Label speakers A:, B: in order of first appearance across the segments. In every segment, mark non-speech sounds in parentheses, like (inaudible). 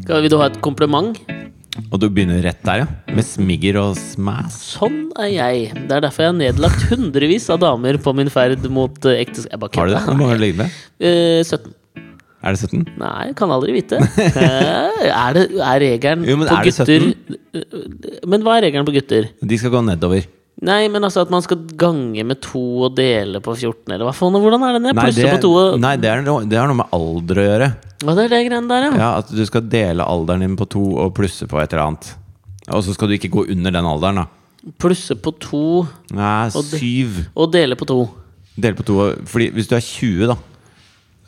A: Skal, vil du ha et kompliment?
B: Og du begynner rett der, ja? Med smigger og smash?
A: Sånn er jeg. Det er derfor jeg har nedlagt hundrevis av damer på min ferd mot eh, ekteskap. Jeg bare
B: Har du det?
A: kødder.
B: Hvor mange ligger det?
A: Eh, 17.
B: Er det 17?
A: Nei, kan aldri vite. Eh, Er, det, er regelen
B: Jo, men
A: på
B: er det
A: gutter Eh, Men hva er regelen på gutter?
B: De skal gå nedover.
A: Nei, men altså at man skal gange med to og dele på 14, eller hva faen? Hvordan er den der?
B: Nei,
A: Plusse
B: det,
A: på to og
B: nei det, er noe, det har noe med alder å gjøre.
A: Hva det er det greiene der, ja?
B: Ja, At du skal dele alderen din på to og plusse på et eller annet. Og så skal du ikke gå under den alderen, da.
A: Plusse på to
B: Nei,
A: Og det-
B: syv.
A: og dele på to.
B: Dele på to. og- Fordi hvis du er 20, da,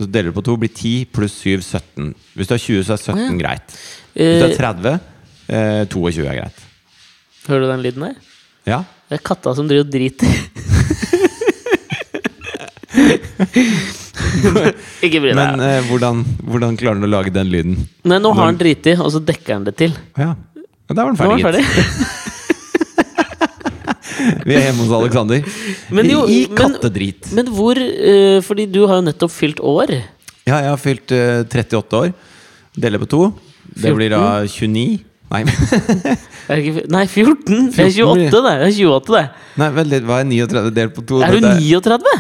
B: så deler du på to, blir 10 pluss 7 17. Hvis du er 20, så er 17 greit. Hvis du
A: Eh,
B: er 30, eh, 22 er greit.
A: hører du den lyden der?
B: Ja.
A: Det er katta som driver og
B: (laughs)
A: driter. Ikke bry deg.
B: Men eh, hvordan, hvordan klarer han å lage den lyden?
A: Nei, nå har han driti, og så dekker han det til.
B: Å Ja. ja, Da var den
A: Nå
B: ferdig,
A: er han
B: gitt. (laughs)
A: ferdig.
B: Vi er hjemme hos Aleksander.
A: Men jo,
B: I
A: men-
B: kattedrit.
A: Men hvor eh, Fordi du har jo nettopp fylt år.
B: Ja, jeg har fylt eh, 38 år. Deler på to. Det blir da 29. Nei,
A: Er det ikke, nei, 14! Det er
B: 14 blir det.
A: 28, det. det, er 28, det.
B: (laughs) nei vel, det var 39 delt på to.
A: Er du
B: Dette
A: 39?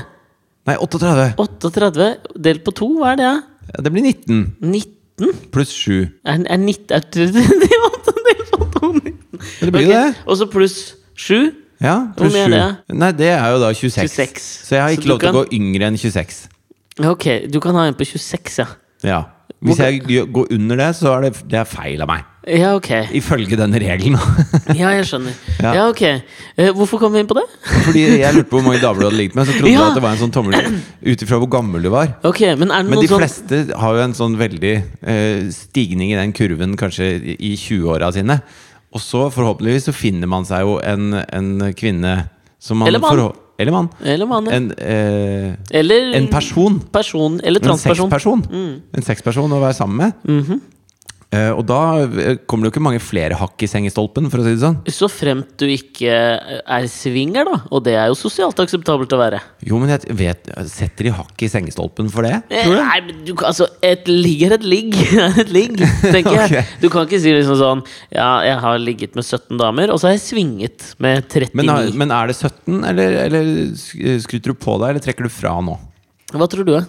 B: Nei, 38.
A: 38 delt på 2, hva er det? da?
B: Ja, Det blir 19
A: 19?
B: pluss 7.
A: Er, er 19 er 38 delt på 2 19?
B: Ja, det blir jo det.
A: Og så pluss 7?
B: Ja,
A: Hvor
B: pluss
A: mye
B: 7.
A: er
B: Nei, det er jo da 26.
A: 26.
B: Så jeg har
A: Så
B: ikke
A: du
B: lov til å
A: kan-
B: gå yngre enn 26.
A: Ok, du kan ha en på 26, ja.
B: Ja. Hvis
A: Hvor-
B: jeg gjør- går under det, så er det, det er feil av meg.
A: Ja, ok.
B: Ifølge den regelen. (laughs)
A: (laughs) Ja, jeg skjønner.
B: Ja.
A: Ja, ok. Eh, hvorfor kom vi inn på det?
B: Fordi jeg lurte på hvor mange damer du hadde ligget med, så trodde
A: Ja.
B: du at det var en sånn tommel ut ifra hvor gammel du var.
A: Ok, Men er det
B: Men de
A: noen sånn
B: fleste har jo en sånn veldig eh, stigning i den kurven kanskje i i 20-åra sine. Og så forhåpentligvis så finner man seg jo en, en kvinne som man
A: Eller mann.
B: forhå- Eller mann.
A: Eller mann.
B: En, eh,
A: Eller
B: en person.
A: person. Eller
B: En
A: transperson. Mm. Mhm.
B: sexperson. En sexperson å være sammen med. eh, og da eh, kommer det jo ikke mange flere hakk i sengestolpen, for å si det sånn.
A: Så fremt du ikke eh, er swinger, da. Og det er jo sosialt akseptabelt å være.
B: Jo, men jeg vet, setter de hakk i sengestolpen for det?
A: Eh, Nei, men du, kan- altså, et ligg er et ligg, er et ligg, tenker jeg.
B: Ok.
A: Du kan ikke si liksom sånn Ja, jeg har ligget med 17 damer, og så har jeg svinget med 39.
B: Men, har- men er det 17, eller, eller sk- skryter du på deg, eller trekker du fra nå?
A: Hva tror du? da?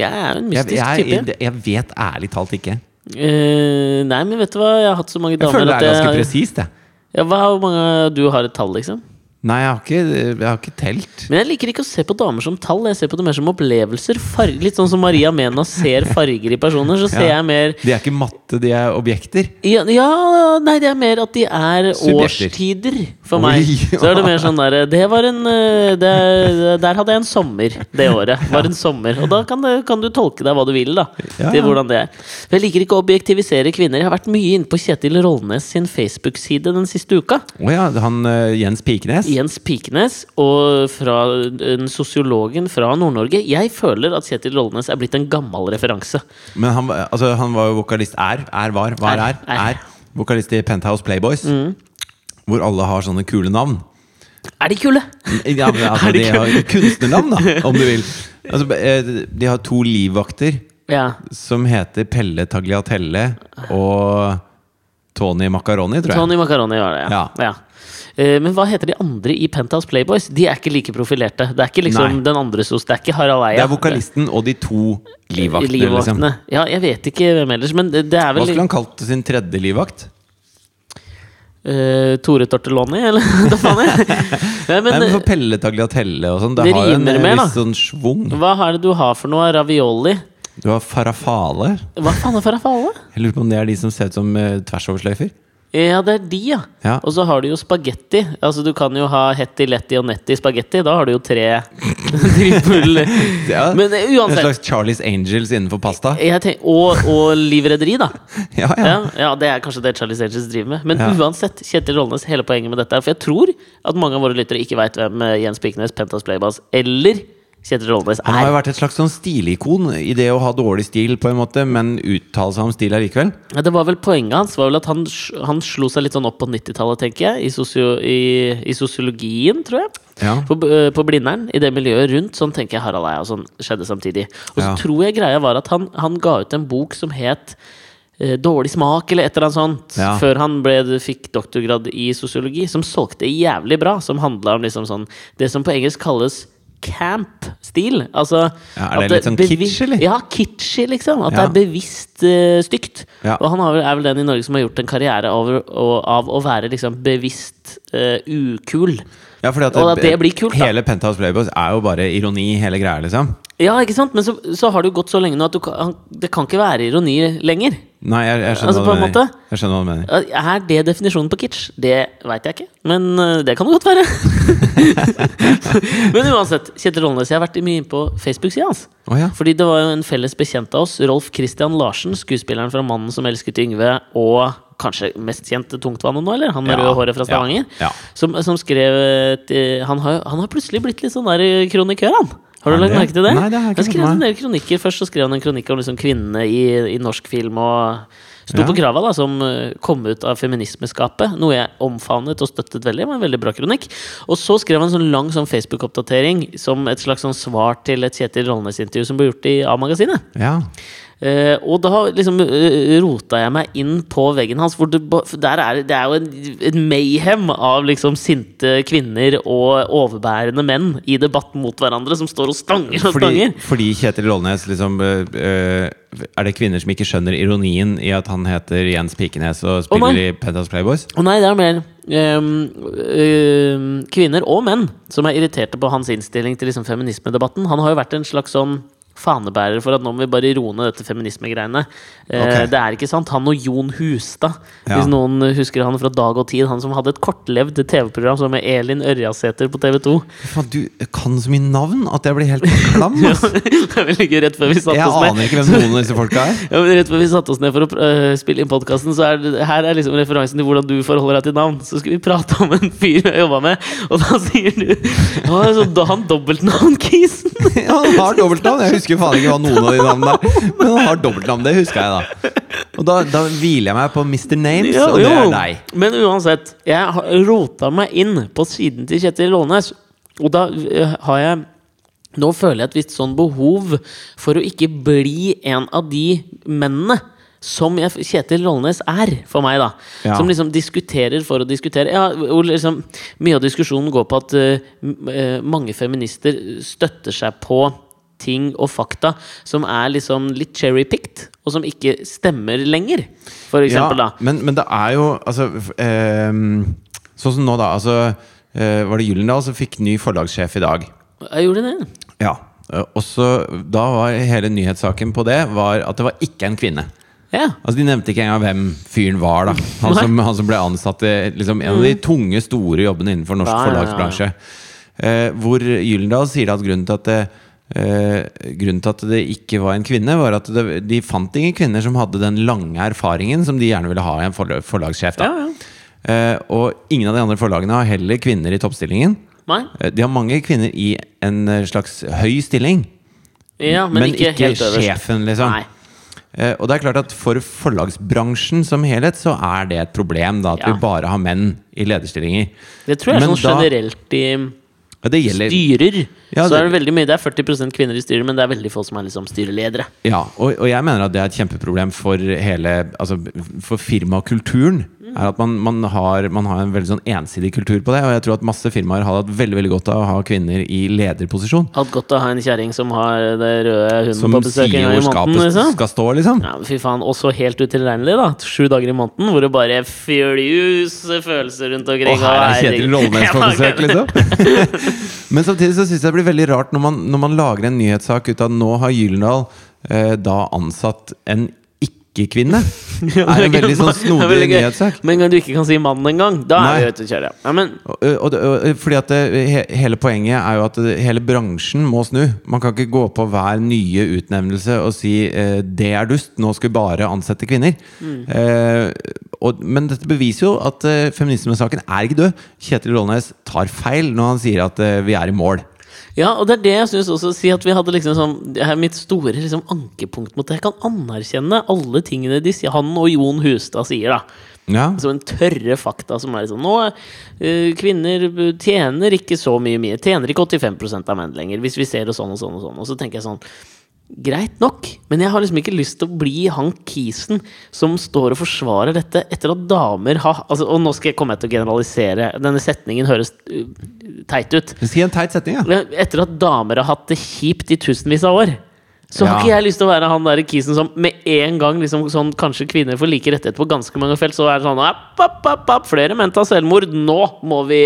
A: Jeg er jo en
B: Jeg,
A: mystisk
B: jeg,
A: type.
B: jeg, jeg vet ærlig talt ikke.
A: Eh, nei, men vet du hva? Jeg har hatt så mange
B: Jeg
A: damer
B: føler det
A: at
B: er ganske
A: jeg-
B: presist, jeg.
A: ja, hva, Hvor mange du har et tall, liksom?
B: Nei, jeg har ikke, jeg har ikke telt.
A: Men jeg liker ikke å se på damer som tall. Jeg ser på det mer som opplevelser. Far litt sånn som Maria Mena ser farger i personer, så ser
B: Ja.
A: jeg mer
B: De er ikke matte, de er objekter.
A: Ja, ja, nei, det er mer at de er
B: Subjekter.
A: årstider for
B: Oi.
A: meg. Så er det mer sånn der Det var en eh, det, Der hadde jeg en sommer det
B: (laughs)
A: året. Var en sommer Og da kan, det, kan du tolke deg hva du vil, da.
B: Ja,
A: Til
B: ja.
A: hvordan det er. For jeg liker ikke å objektivisere kvinner. Jeg har vært mye inne på Kjetil Rollnes sin Facebook-side den siste uka.
B: Å ja, han eh, Jens Pikenes.
A: Jens Pikenes og fra en sosiologen fra Nord-Norge. Jeg føler at Kjetil Rollnes er blitt en gammel referanse.
B: Men han, var- altså, han var jo vokalist er, er var, var
A: Er,
B: er, er,
A: er. Mm.
B: Vokalist i Penthouse Playboys. Hvor alle har sånne kule navn.
A: Er de kule? (laughs)
B: Ja, men, altså,
A: Er det
B: de har kunstnernavn, da, om du vil. Altså, eh, de har to livvakter
A: Ja.
B: som heter Pelle Tagliatelle og Tony Macaroni, tror jeg.
A: Tony Macaroni var det, ja. ja. Eh, Men hva heter de andre i Penthouse Playboys? De er ikke like profilerte. Det er ikke liksom
B: Nei.
A: den andre sos, det er ikke Harald Eia. Eh,
B: Det er vokalisten og de to livvaktene. Liksom.
A: Livvaktene. Ja, jeg vet ikke hvem ellers, men det det er
B: Hva
A: vel
B: skulle han kalt sin tredje livvakt?
A: eh, Tore Tortelloni, eller (laughs) hva
B: (laughs)
A: faen er det? Nei,
B: Nei,
A: men
B: men
A: eh,
B: For Pelle Tagliatelle og sånn. Det
A: det
B: har jo en
A: rimer
B: eh,
A: mer, da.
B: viss sånn schwung.
A: eh, hva er det du har for noe? Ravioli?
B: Du har Farafale.
A: Hva faen er farafale?
B: Jeg lurer på om det er de som ser ut som eh, tversoversløyfer.
A: Ja, det er de, ja.
B: Ja.
A: Og så har du jo spagetti. Altså, du kan jo ha hetti, letti og netti spagetti. Da har du jo tre
B: (laughs)
A: trippel
B: Ja,
A: Men eh,
B: En
A: uansett.
B: slags Charlies Angels innenfor pasta.
A: Jeg tenker, og, og livredderi, da.
B: (laughs) Ja, ja.
A: Ja, ja, det er kanskje det Charlie Angels driver med. Men
B: Ja.
A: uansett, Kjetil Rollnes, hele poenget med dette er For jeg tror at mange av våre lyttere ikke veit hvem eh, Jens Piknes, Pentas Playbass eller Kjetil Rollnes
B: Han
A: er.
B: har jo vært et slags sånn stilikon i det å ha dårlig stil, på en måte, men uttale seg om stil allikevel.
A: Ja, det var vel Poenget hans var vel at han, sj- han slo seg litt sånn opp på 90-tallet, tenker jeg. I, sosio, i, i sosiologien, tror jeg.
B: Ja.
A: På, b- øh, på Blindern, i det miljøet rundt, sånn tenker jeg Harald Eia og sånn skjedde samtidig. Og så
B: Ja.
A: tror jeg greia var at han, han ga ut en bok som het eh, eh, dårlig smak eller et eller annet sånt,
B: Ja.
A: før han ble, fikk doktorgrad i sosiologi, som solgte jævlig bra. Som handla om liksom sånn, det som på engelsk kalles camp-stil. Altså,
B: Ja, er det
A: at
B: litt sånn
A: bevi-
B: kitsch, eller?
A: Ja, kitschy, liksom. At det
B: Ja.
A: er bevisst eh, stygt.
B: Ja.
A: Og han har vel, er vel den i Norge som har gjort en karriere over, og, av å være liksom bevisst eh, ukul.
B: Ja, fordi at
A: Og at det blir kult, da.
B: Hele Penthouse Playboys er jo bare ironi, hele greia, liksom.
A: Ja, ikke sant? Men så, så har det jo gått så lenge nå at du kan, han- det kan ikke være ironi lenger.
B: Nei, jeg, jeg skjønner
A: Altså, på
B: hva du
A: en
B: mener.
A: måte.
B: Jeg skjønner hva du mener.
A: Er det definisjonen på kitsch? Det veit jeg ikke, men øh, det kan det godt være. (laughs) men uansett, Kjetil Rollnes, jeg har vært mye inne på Facebook-sida hans.
B: Å ja.
A: Fordi det var jo en felles bekjent av oss, Rolf Christian Larsen, skuespilleren fra 'Mannen som elsket Yngve', og kanskje mest kjent Tungtvannet nå, eller? Han med
B: Ja,
A: røde håret fra
B: ja,
A: Stavanger.
B: ja.
A: Som, som skrev et, eh, han, har, han har plutselig blitt litt sånn der kronikør, han. Har du
B: Er
A: lagt
B: det?
A: merke til det?
B: Nei, det har
A: han
B: jeg ikke fått
A: skrev
B: med
A: en
B: meg.
A: del kronikker. Først så skrev han en kronikk om liksom kvinnene i, i norsk film. og Sto
B: Ja.
A: på krava, da, som eh, kom ut av feminismeskapet. Noe jeg omfavnet og støttet veldig. Det var en veldig bra kronikk. Og så skrev han en sånn lang sånn Facebook-oppdatering som et slags sånn svar til et Kjetil Rollnes-intervju som ble gjort i A-magasinet.
B: Ja.
A: Eh, og da liksom eh, rota jeg meg inn på veggen hans. Hvor det, ba- for der er, det- det er jo en, en mayhem av liksom sinte kvinner og overbærende menn i debatt mot hverandre, som står og stanger og
B: Fordi,
A: stanger.
B: fordi Kjetil Rollnes liksom øh, øh, Er det kvinner som ikke skjønner ironien i at han heter Jens Pikenes og
A: Å,
B: spiller
A: nei.
B: i Penthouse Playboys?
A: Og nei, det er mer ehm, ehm, kvinner og menn som er irriterte på hans innstilling til liksom, feminismedebatten. Han har jo vært en slags sånn fanebærer for at nå må vi bare roe ned dette feminismegreiene. Eh,
B: Ok.
A: Det er ikke sant. Han og Jon Hustad,
B: Ja.
A: hvis noen husker han fra Dag og Tid, han som hadde et kortlevd TV-program som med Elin Ørjasæter på TV 2.
B: Faen, du kan så mye navn at jeg blir helt klam! ass.
A: (laughs) det er sånn vel ikke rett før vi satte
B: Jeg
A: oss ned.
B: aner ikke hvem noen av disse folka
A: (laughs)
B: er.
A: Ja, men rett før vi satte oss ned for å øh, spille inn podkasten, så er det, her er liksom referansen til hvordan du forholder deg til navn. Så skal vi prate om en fyr jeg jobba med, og da sier du Han har sånn da han dobbeltnavn, Kisen!
B: Ja, han har dobbeltnavn. Jeg husker faen ikke hva noen av de navnene er. Men han har dobbeltnavn, det huska jeg, da. Og da, da hviler jeg meg på Mr. Names,
A: Ja,
B: og det
A: jo.
B: er deg.
A: Men uansett, jeg har rota meg inn på siden til Kjetil Lånes, og da øh, har jeg Nå føler jeg et visst sånn behov for å ikke bli en av de mennene som jeg, Kjetil Rollnes er for meg, da.
B: Ja.
A: Som liksom diskuterer for å diskutere. Ja, hvor liksom, mye av diskusjonen går på at eh, m- eh, mange feminister støtter seg på ting og fakta som er liksom litt cherry-picked, og som ikke stemmer lenger, for eksempel. da.
B: Men, men det er jo altså, f- ehm, Sånn som nå, da. Altså, eh, var det Gyllendal som fikk ny forlagssjef i dag?
A: Jeg gjorde det.
B: Ja. Eh, Og så, da var hele nyhetssaken på det var at det var ikke en kvinne.
A: Ja.
B: Altså De nevnte ikke engang hvem fyren var, da. Han som, han som ble ansatt i liksom, en av de tunge, store jobbene innenfor
A: Mm. Ja,
B: norsk
A: ja, ja, ja.
B: forlagsbransje. Eh, hvor Gyldendal sier at grunnen til at det eh, grunnen til at det ikke var en kvinne, var at det, de fant ingen kvinner som hadde den lange erfaringen som de gjerne ville ha i en forlag, forlagssjef. Da.
A: ja, ja.
B: Eh, og ingen av de andre forlagene har heller kvinner i toppstillingen.
A: Nei.
B: Eh, De har mange kvinner i en eh, slags høy stilling,
A: Ja, men, ikke, helt øverst.
B: sjefen, liksom.
A: Nei.
B: Eh, Og det er klart at For forlagsbransjen som helhet så er det et problem da, at
A: Ja.
B: vi bare har menn i lederstillinger.
A: Det tror jeg er
B: Men
A: sånn
B: da-
A: generelt i um,
B: Ja, Det gjelder,
A: styrer.
B: Ja,
A: så
B: det-
A: er det veldig mye Det er 40 kvinner i styrer, men det er veldig få som er liksom styreledere.
B: ja, og, og jeg mener at det er et kjempeproblem for hele altså, For firmakulturen.
A: Mm.
B: Er at man, man, har, man har en veldig sånn ensidig kultur på det. Og jeg tror at masse firmaer har hatt veldig veldig godt av å ha kvinner i lederposisjon.
A: Hatt godt av å ha en kjerring som har det røde hunden
B: Som
A: på besøk en
B: sier
A: gang i måneden.
B: hvor skapet
A: Liksom.
B: skal stå, liksom.
A: Ja, men fy faen, Også helt utilregnelig, da. Sju dager i måneden hvor det bare fjuljuse følelser rundt omkring.
B: Og her er
A: herregud.
B: Kjetil Rollnes på
A: (laughs) Ja,
B: besøk, liksom! (laughs) Men samtidig så syns jeg det blir veldig rart når man, når man lager en nyhetssak ut av at nå har Gyldendal eh, da ansatt en ikke-kvinne.
A: (laughs)
B: Det er en veldig sånn
A: Det er
B: snodig
A: veldig gøy.
B: nyhetssak.
A: Men en gang du ikke kan si mann engang, da
B: Nei.
A: er vi ute å kjøre. Ja, men,
B: Og, og, det- og, fordi at det, he, Hele poenget er jo at det, hele bransjen må snu. Man kan ikke gå på hver nye utnevnelse og si eh, 'det er dust, nå skal vi bare ansette kvinner'.
A: Mm.
B: Eh, og, men dette beviser jo at eh, feminismesaken er ikke død. Kjetil Rollnes tar feil når han sier at eh, vi er i mål.
A: Ja, og det er det jeg syns også. Si at vi hadde liksom sånn det er Mitt store liksom ankepunkt mot det. Jeg kan anerkjenne alle tingene de, sier- han og Jon Hustad sier, da.
B: Ja.
A: Som en tørre fakta som er sånn Nå, eh, kvinner tjener ikke så mye mye Tjener ikke 85 av menn lenger Hvis vi ser det sånn og sånn og sånn Og så tenker jeg sånn Greit nok, men jeg har liksom ikke lyst til å bli han kisen som står og forsvarer dette etter at damer har altså, Og nå skal jeg komme til å generalisere. Denne setningen høres uh, teit ut.
B: Si en teit setning, ja.
A: Men Etter at damer har hatt det kjipt i tusenvis av år, så har
B: Ja.
A: ikke jeg lyst til å være han der kisen som med en gang liksom, sånn, Kanskje kvinner får like rettigheter på ganske mange felt, så er det sånn app, app, app, app, Flere menn tar selvmord. Nå må vi,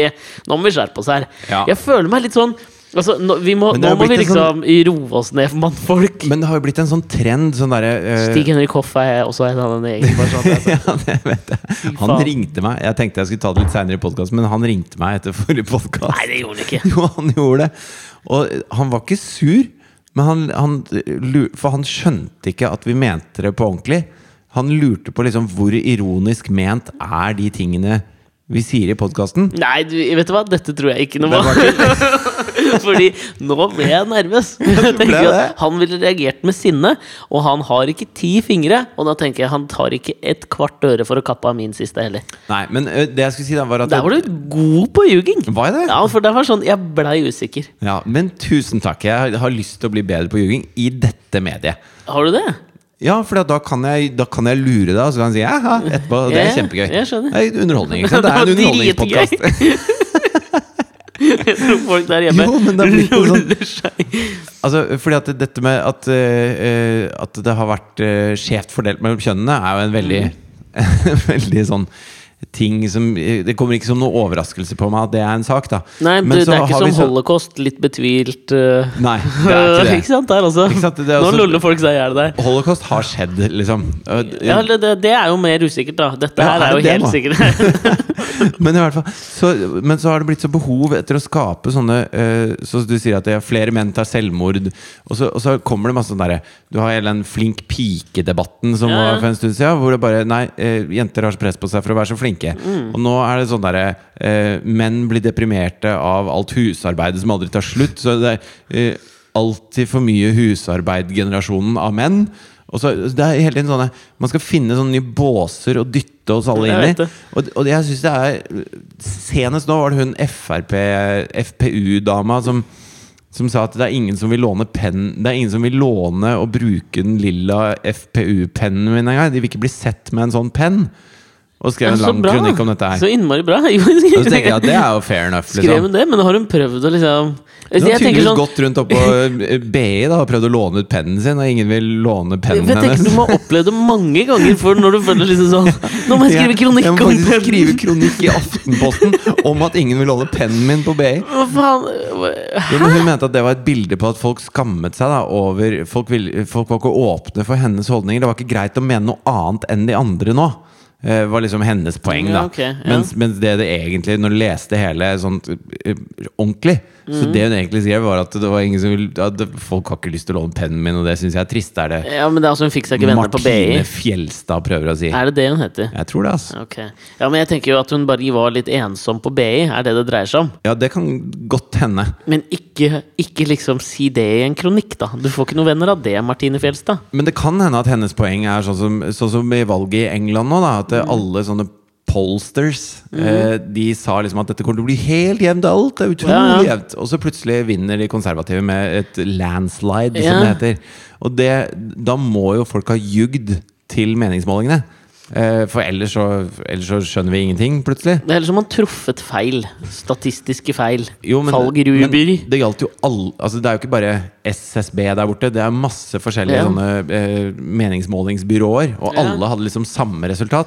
A: nå må vi skjerpe oss her.
B: Ja.
A: Jeg føler meg litt sånn altså, nå, vi må,
B: Men det
A: nå
B: har
A: må vi
B: blitt en sånn
A: liksom roe oss ned, mannfolk.
B: Men det har jo blitt en sånn trend sånn derre eh,
A: Stig Henrik Hoff er også en av den egen
B: (laughs)
A: personen. Altså.
B: Ja, det vet jeg. Han
A: faen.
B: ringte meg. Jeg tenkte jeg skulle ta det litt seinere i podkasten, men han ringte meg etter forrige podkast.
A: Nei, det gjorde han
B: (laughs)
A: ikke.
B: Jo, han gjorde det. Og han var ikke sur, men han, han lu- for han skjønte ikke at vi mente det på ordentlig. Han lurte på liksom hvor ironisk ment er de tingene vi sier i podkasten.
A: Nei, du, vet du hva? Dette tror jeg ikke noe
B: Det
A: på.
B: var
A: (laughs) Fordi nå ble jeg nervøs. Jeg
B: (laughs) ble
A: tenker
B: det.
A: at han ville reagert med sinne, og han har ikke ti fingre. Og da tenker jeg han tar ikke et kvart øre for å kappe av min siste heller.
B: Nei, men ø, det jeg skulle si da, var at
A: Der var du god på ljuging!
B: Var jeg det?
A: Ja, for det var sånn Jeg blei usikker.
B: Ja, men tusen takk. Jeg har lyst til å bli bedre på ljuging i dette mediet.
A: Har du det? (laughs)
B: Ja, for da kan jeg, da kan jeg lure deg, og så kan jeg si ja, ja, etterpå. og Det er
A: Ja,
B: kjempegøy.
A: jeg skjønner.
B: Det er underholdning. Ikke
A: (laughs)
B: sant? Det er en
A: Det var
B: underholdningspodkast.
A: Jeg tror folk der hjemme
B: Jo, men det er blitt noe sånn-
A: ruller seg
B: Altså, fordi at dette med at, eh, eh, at det har vært eh, skjevt fordelt mellom kjønnene, er jo en veldig, (laughs) veldig sånn ting som eh, Det kommer ikke som noe overraskelse på meg at det er en sak, da.
A: Nei,
B: Men
A: du, det
B: så
A: er ikke
B: har
A: som
B: vi så-
A: holocaust. Litt betvilt. eh,
B: Nei, det er ikke det.
A: (laughs) ikke sant? Der, altså.
B: Ikke sant? Det er
A: Nå
B: også-
A: luller folk seg i hjel der. (laughs)
B: Holocaust har skjedd, liksom. Og-
A: Ja, det, det, det er jo mer usikkert, da. Dette
B: Ja,
A: her
B: er
A: er jo
B: det det,
A: helt
B: da?
A: sikkert. (laughs)
B: (laughs) Men i hvert fall så, Men så har det blitt så behov etter å skape sånne eh, Så du sier at det er flere menn tar selvmord Og så, og så kommer det masse sånn derre Du har hele den flink pike-debatten Som
A: Ja, ja.
B: var for en stund siden Hvor det bare, nei, eh, jenter har så press på seg for å være så flinke
A: Mm.
B: Og nå er det sånn derre eh, Menn blir deprimerte av alt husarbeidet Som aldri tar slutt Så det er eh, alltid for mye husarbeid-generasjonen av menn og så, det er hele tiden sånne Man skal finne sånne nye båser Og dytte oss alle
A: Jeg
B: inn i
A: vet det.
B: og, og jeg synes det er Senest nå var det hun FRP FPU-dama som, som sa at det er ingen som vil låne penn Det er ingen som vil låne og bruke den lilla FPU-pennen min engang. De vil ikke bli sett med en sånn penn. Og skrev en
A: Så
B: lang
A: bra.
B: kronikk om dette her.
A: Så innmari bra. (laughs) Jo,
B: Og så tenker jeg at det er jo fair enough.
A: (laughs) Skrev
B: Liksom.
A: hun det, men har hun prøvd å liksom
B: Hun
A: Jeg
B: har
A: tenker
B: tydeligvis
A: sånn
B: gått rundt oppå eh, BI da, og prøvd å låne ut pennen sin, og ingen vil låne pennen
A: jeg tenker Du
B: hennes.
A: må ha opplevd det mange ganger før når du føler liksom sånn Nå må jeg skrive kronikk
B: jeg må
A: om
B: faktisk skrive
A: pennen!
B: kronikk i Aftenposten om at ingen vil låne pennen min på E. BI.
A: Hva faen?
B: Jo, men hun mente at det var et bilde på at folk skammet seg da over folk, ville, folk var ikke åpne for hennes holdninger. Det var ikke greit å mene noe annet enn de andre nå. Eh, var liksom hennes poeng, da.
A: Ja, ok, ja.
B: mens, mens det det egentlig, når du leste hele sånn eh, ordentlig
A: Mm.
B: Så det hun egentlig sier, var at det var ingen som vil, at det- folk har ikke lyst til å låne pennen min, og det syns jeg er trist. Det er det
A: Ja, men det er altså Hun fikk seg ikke venner på BI.
B: Martine Fjelstad prøver å si.
A: Er det det hun heter?
B: Jeg tror det, altså.
A: Ok. Ja, men jeg tenker jo at hun bare var litt ensom på BI. Er det det dreier seg om?
B: Ja, det kan godt hende.
A: Men ikke, ikke liksom si det i en kronikk, da. Du får ikke noen venner av det, Martine Fjelstad.
B: Men det kan hende at hennes poeng er sånn som, sånn som i valget i England nå, da, at
A: Mm.
B: eh, alle sånne pollsters eh, De sa liksom at dette kommer til å bli helt jevnt, alt er utrolig
A: Ja, ja.
B: jevnt. Og så plutselig vinner de konservative med et landslide,
A: Ja.
B: som det heter. Og det, da må jo folk ha jugd til meningsmålingene. Eh, for ellers så, ellers så skjønner vi ingenting, plutselig.
A: Det er heller som man truffet feil. Statistiske feil.
B: Jo, men, men
A: Fallgruber.
B: det gjaldt jo alle altså Det er jo ikke bare SSB der borte. Det er masse forskjellige
A: Ja.
B: sånne eh, meningsmålingsbyråer, og
A: Ja.
B: alle hadde liksom samme resultat.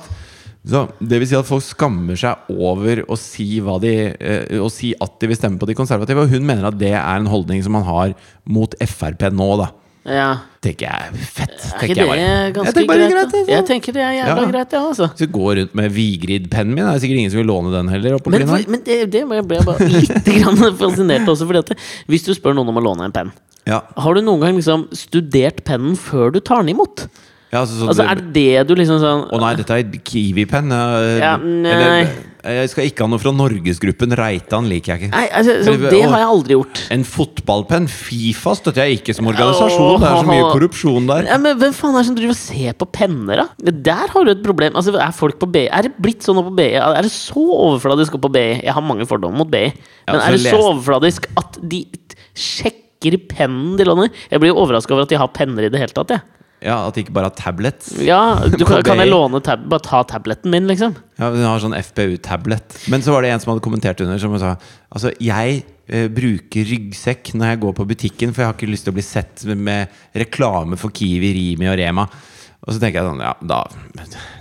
B: Så det vil si at folk skammer seg over å si, hva de, eh, å si at de vil stemme på de konservative. Og hun mener at det er en holdning som man har mot Frp nå, da.
A: ja.
B: Tenker jeg fett.
A: Er
B: tenker
A: ikke det
B: jeg bare.
A: ganske
B: Jeg tenker bare det er
A: greit? da?
B: greit, det,
A: Jeg
B: så.
A: tenker det er jævla
B: Ja.
A: greit, ja, altså.
B: Hvis du går rundt med Vigrid-pennen min, er det sikkert ingen som vil låne den heller. oppe på
A: Men,
B: Blindern.
A: for, men det, det ble jeg ble jeg
B: (laughs)
A: bare litt grann fascinert også, fordi at det, hvis du spør noen om å låne en penn
B: ja.
A: har du noen gang liksom studert pennen før du tar den imot?
B: Ja, altså, sånn-
A: Altså Er det du liksom sånn
B: Å nei, dette er Kiwi-penn. eh,
A: Ja, nei.
B: eller, Jeg skal ikke ha noe fra Norgesgruppen. Reitan liker jeg ikke.
A: Nei, altså, så,
B: Eller-
A: det
B: å,
A: har jeg aldri gjort.
B: En fotballpenn? Fifa støtter jeg ikke som organisasjon. Det er så mye korrupsjon der.
A: Ja, men Hvem faen er det som driver og ser på penner, da? Der har du et problem. Altså, er folk på BI Er det blitt sånn nå på BI? Er det så overfladisk å gå på BI? Jeg har mange fordommer mot BI, men
B: så
A: er det så
B: altså, les-
A: overfladisk at de t- sjekker stikker pennen til Lonnie. Jeg blir jo overraska over at de har penner i det hele tatt. Jeg.
B: Ja, At de ikke bare har tablets.
A: Ja, du,
B: (laughs) På
A: kan, kan jeg
B: Bay.
A: låne tab Bare ta tableten min, liksom?
B: Ja, Hun har sånn FPU-tablet. Men så var det en som hadde kommentert under, som sa Altså, jeg eh, bruker ryggsekk når jeg går på butikken, for jeg har ikke lyst til å bli sett med reklame for Kiwi, Rimi og Rema. Og så tenker jeg sånn, ja, da,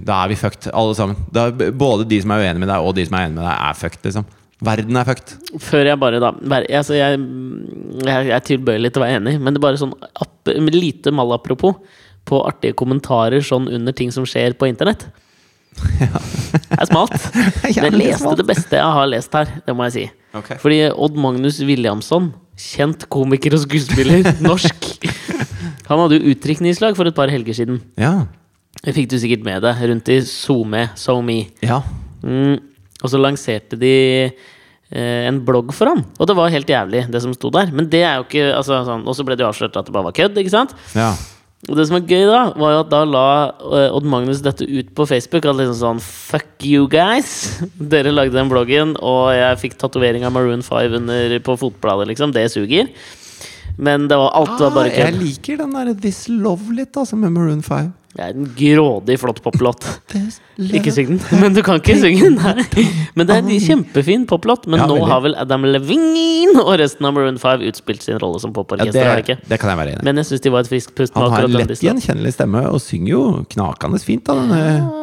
B: da er vi fucked, alle sammen. Da, både de som er uenige med deg, og de som er enige med deg, er fucked, liksom. Verden er fucked.
A: Før jeg bare da vær- altså jeg, jeg, jeg er tilbøyelig til å være enig, men det er bare sånn app, lite malapropos på artige kommentarer sånn under ting som skjer på (laughs) internett. Det er smalt. (laughs)
B: Jævlig
A: Jeg leste
B: smalt.
A: det beste jeg har lest her, det må jeg si.
B: Ok.
A: Fordi Odd Magnus Williamson, kjent komiker og skuespiller, (laughs) norsk Han hadde jo utdrikningslag for et par helger siden.
B: Ja.
A: Det fikk du sikkert med deg rundt i SoMe, SoMe.
B: Ja.
A: Mm. Og så lanserte de eh, en blogg for han. Og det var helt jævlig, det som sto der. Men det er jo ikke altså, sånn, Og så ble det jo avslørt at det bare var kødd. ikke sant?
B: ja.
A: Og det som var gøy, da, var jo at da la eh, Odd Magnus dette ut på Facebook. At liksom sånn Fuck you guys! (laughs) Dere lagde den bloggen, og jeg fikk tatovering av Maroon 5 under, på fotbladet, liksom. Det suger. Men det var, alt var bare
B: Ah, jeg
A: kødd.
B: liker den der This Love litt, altså, med Maroon 5.
A: Det er en grådig flott poplåt. (laughs)
B: This
A: Ikke syng den, (laughs) men du kan ikke synge den. Nei.
B: (laughs)
A: Men det er en kjempefin poplåt. Men
B: Ja,
A: nå
B: veldig.
A: har vel Adam Levine og resten av Maroon 5 utspilt sin rolle som
B: Ja,
A: poporkester.
B: det,
A: har de ikke?
B: det kan jeg være enig i.
A: Men jeg syns de var et friskt pust. med
B: Han har
A: akkurat
B: en
A: den
B: lett
A: listen.
B: gjenkjennelig stemme og synger jo knakende fint. da denne
A: Ja,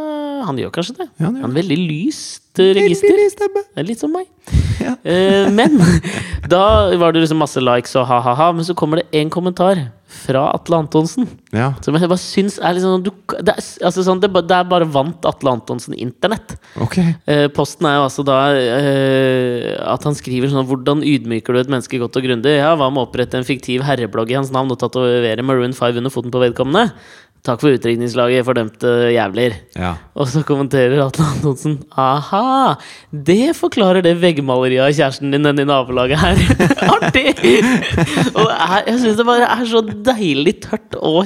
A: Han gjør kanskje det.
B: eh. Ja, han
A: han,
B: gjør
A: har veldig lyst eh, register.
B: Veldig stemme.
A: Det er Litt som meg.
B: Ja.
A: Eh, men (laughs) da var det liksom masse likes og ha-ha-ha, men så kommer det én kommentar fra Atle Antonsen.
B: Ja.
A: Som jeg bare syns er liksom sånn, du, det, er, altså sånn det, er bare- det er bare vant Atle Antonsen internett.
B: Ok.
A: Eh, Posten er jo altså da eh, at han skriver sånn Hvordan ydmyker du et menneske godt og grundig? Ja, hva med å opprette en fiktiv herreblogg i hans navn og tatovere Maroon 5 under foten på vedkommende? Takk for utdrikningslaget, fordømte jævler.
B: Ja.
A: Og så kommenterer Atle Antonsen Aha, det forklarer det veggmaleriet av kjæresten din nede i nabolaget her. (laughs) Artig! og det er, jeg syns det bare er så deilig tørt og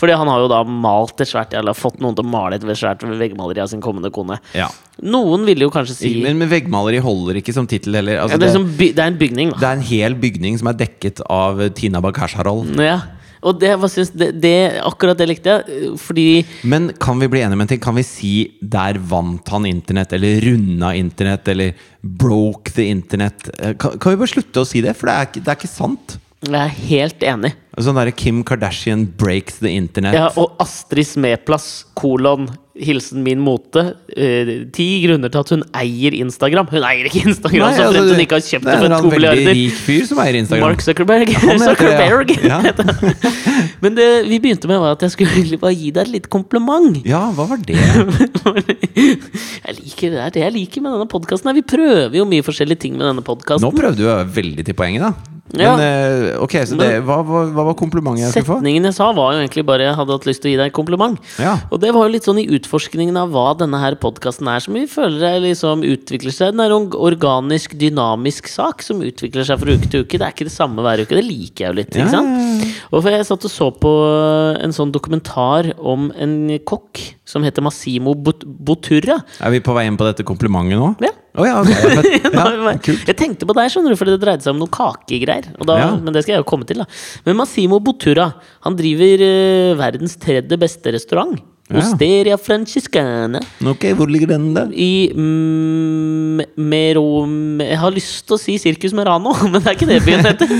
A: Fordi han har jo da malt et svært Eller fått noen til å male et svært veggmaleri av sin kommende kone.
B: ja.
A: Noen vil jo kanskje si
B: Men, men veggmaleri holder ikke som tittel heller.
A: ja,
B: Altså,
A: det, er
B: det,
A: som by, det er en bygning, da.
B: det er en hel bygning som er dekket av eh, Tina Bakasharol.
A: Ja. Og det, hva syns, det, det, akkurat det likte jeg, fordi
B: Men kan vi bli enige om en ting? Kan vi si 'der vant han internett', eller 'runda internett', eller 'broke the internet'? Eh, Kan, kan vi bare slutte å si det? For det er ikke, det er ikke sant.
A: jeg er helt enig.
B: Sånn derre Kim Kardashian breaks the internet.
A: Ja, og Astrid Smeplass, kolon, hilsen min mote, eh, ti grunner til at hun eier Instagram. Hun eier ikke Instagram,
B: Nei,
A: så
B: altså,
A: fremt hun ikke har kjøpt det
B: er en
A: for
B: eller
A: to
B: annen
A: milliarder.
B: Veldig rik fyr som eier Instagram.
A: Mark Zuckerberg.
B: Han heter det,
A: Zuckerberg. (laughs)
B: ja. Ja.
A: heter han. (laughs) Men det vi begynte med, var at jeg skulle (laughs) egentlig bare gi deg et lite kompliment.
B: Ja, hva var det?
A: (laughs) Altså, jeg liker det er det jeg liker med denne podkasten. Vi prøver jo mye forskjellige ting med denne
B: Nå
A: podkasten.
B: prøvde du å være veldig til poenget, da. Men
A: Ja.
B: eh, ok, så det, hva, hva, hva var komplimentet jeg skulle få?
A: Setningen jeg sa, var jo egentlig bare jeg hadde hatt lyst til å gi deg et kompliment.
B: Ja.
A: Og det var jo litt sånn i utforskningen av hva denne her podkasten er, som vi føler er liksom utvikler seg. Den er en organisk, dynamisk sak som utvikler seg fra uke til uke. Det er ikke det samme hver uke. Det liker jeg jo litt.
B: Ja,
A: ikke sant?
B: ja, ja.
A: Og for jeg satt og så på en sånn dokumentar om en kokk som heter Massimo Bot Boturra.
B: Er vi på vei inn på dette komplimentet nå?
A: Ja.
B: Å ja, ok, ja, fett.
A: (laughs) Nå har vi
B: ja,
A: bare-
B: kult.
A: Jeg tenkte på deg, skjønner du, fordi det dreide seg om noen kakegreier. Og da,
B: Ja.
A: Men det skal jeg jo komme til, da. Men Massimo Bottura han driver eh, verdens tredje beste restaurant.
B: Ja.
A: Osteria Franciscana
B: Ok, hvor ligger den da?
A: i mm, Mero... Jeg har lyst til å si Circus Merano, (laughs) men det er ikke det byen
B: (laughs)
A: heter.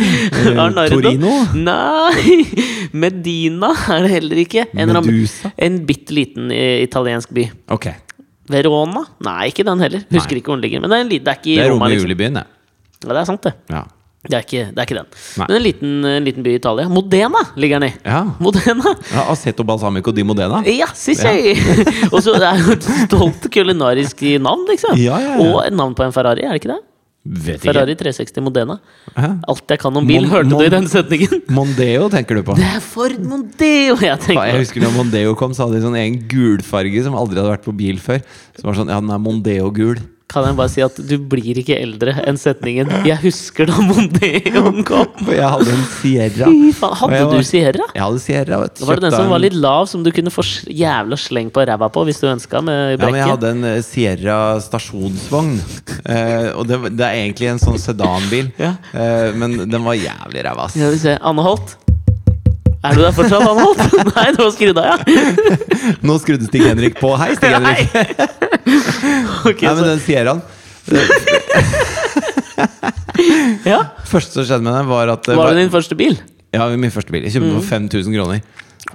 A: Arnardo.
B: Eh, Torino?
A: Nei! (laughs) Medina er det heller ikke. En, eller annen-
B: Medusa?
A: en bitte liten eh, italiensk by.
B: Ok,
A: Verona? Nei, ikke den heller. Husker
B: Nei.
A: ikke hvor den ligger. Men det er, en, li- det er ikke i
B: det er
A: Roma.
B: Romeo
A: Liksom.
B: Julebyen, det.
A: Ja, det er sant, det.
B: Ja.
A: Det er ikke, det er ikke den.
B: Nei.
A: Men en liten, en liten by i Italia. Modena ligger den i.
B: Ja.
A: Modena!
B: ja Aceto Balsamico di Modena?
A: Ja, sisei! (laughs) Og så det er jo et stolt kulinarisk navn, liksom.
B: Ja, ja, ja.
A: Og et navn på en Ferrari, er det ikke det?
B: Vet ikke.
A: Ferrari 360 Modena.
B: Hæ?
A: Alt jeg kan om bil,
B: Mon-
A: hørte du
B: Mon-
A: i den setningen? (laughs)
B: Mondeo tenker du på?
A: Det er Ford Mondeo jeg
B: Ja, Jeg
A: tenker på!
B: husker når Mondeo kom, så hadde de sånn egen gulfarge som aldri hadde vært på bil før. Som var sånn, ja, den er Mondeo-gul.
A: kan jeg bare si at du blir ikke eldre enn setningen 'Jeg husker da Mondeoen kom'.
B: For jeg hadde en Sierra.
A: Fy faen, hadde
B: Og jeg
A: du
B: var-
A: Sierra?
B: Jeg hadde Sierra, vet du.
A: Var det den
B: Kjøpte
A: som var
B: en-
A: litt lav, som du kunne få sl- jævla sleng på ræva på hvis du ønska, med
B: Ja, men jeg
A: brekket?
B: hadde en eh, Sierra stasjonsvogn. Eh, og det, var- det er egentlig en sånn sedanbil,
A: Ja.
B: eh, men den var jævlig ræva, ass.
A: Skal vi se. Anne Holt? Er du der fortsatt, Anne Holt? (laughs) Nei, du var skrudd av, ja.
B: Nå skrudde Stig Henrik på. Hei,
A: (laughs)
B: Stig Henrik!
A: Nei. (laughs) Ok,
B: Nei, men
A: så,
B: den Sierraen
A: ja.
B: Første som skjedde med den, var at det
A: Var det din Mm. første bil?
B: Ja, min første bil. Jeg kjøpte den for 5000 kroner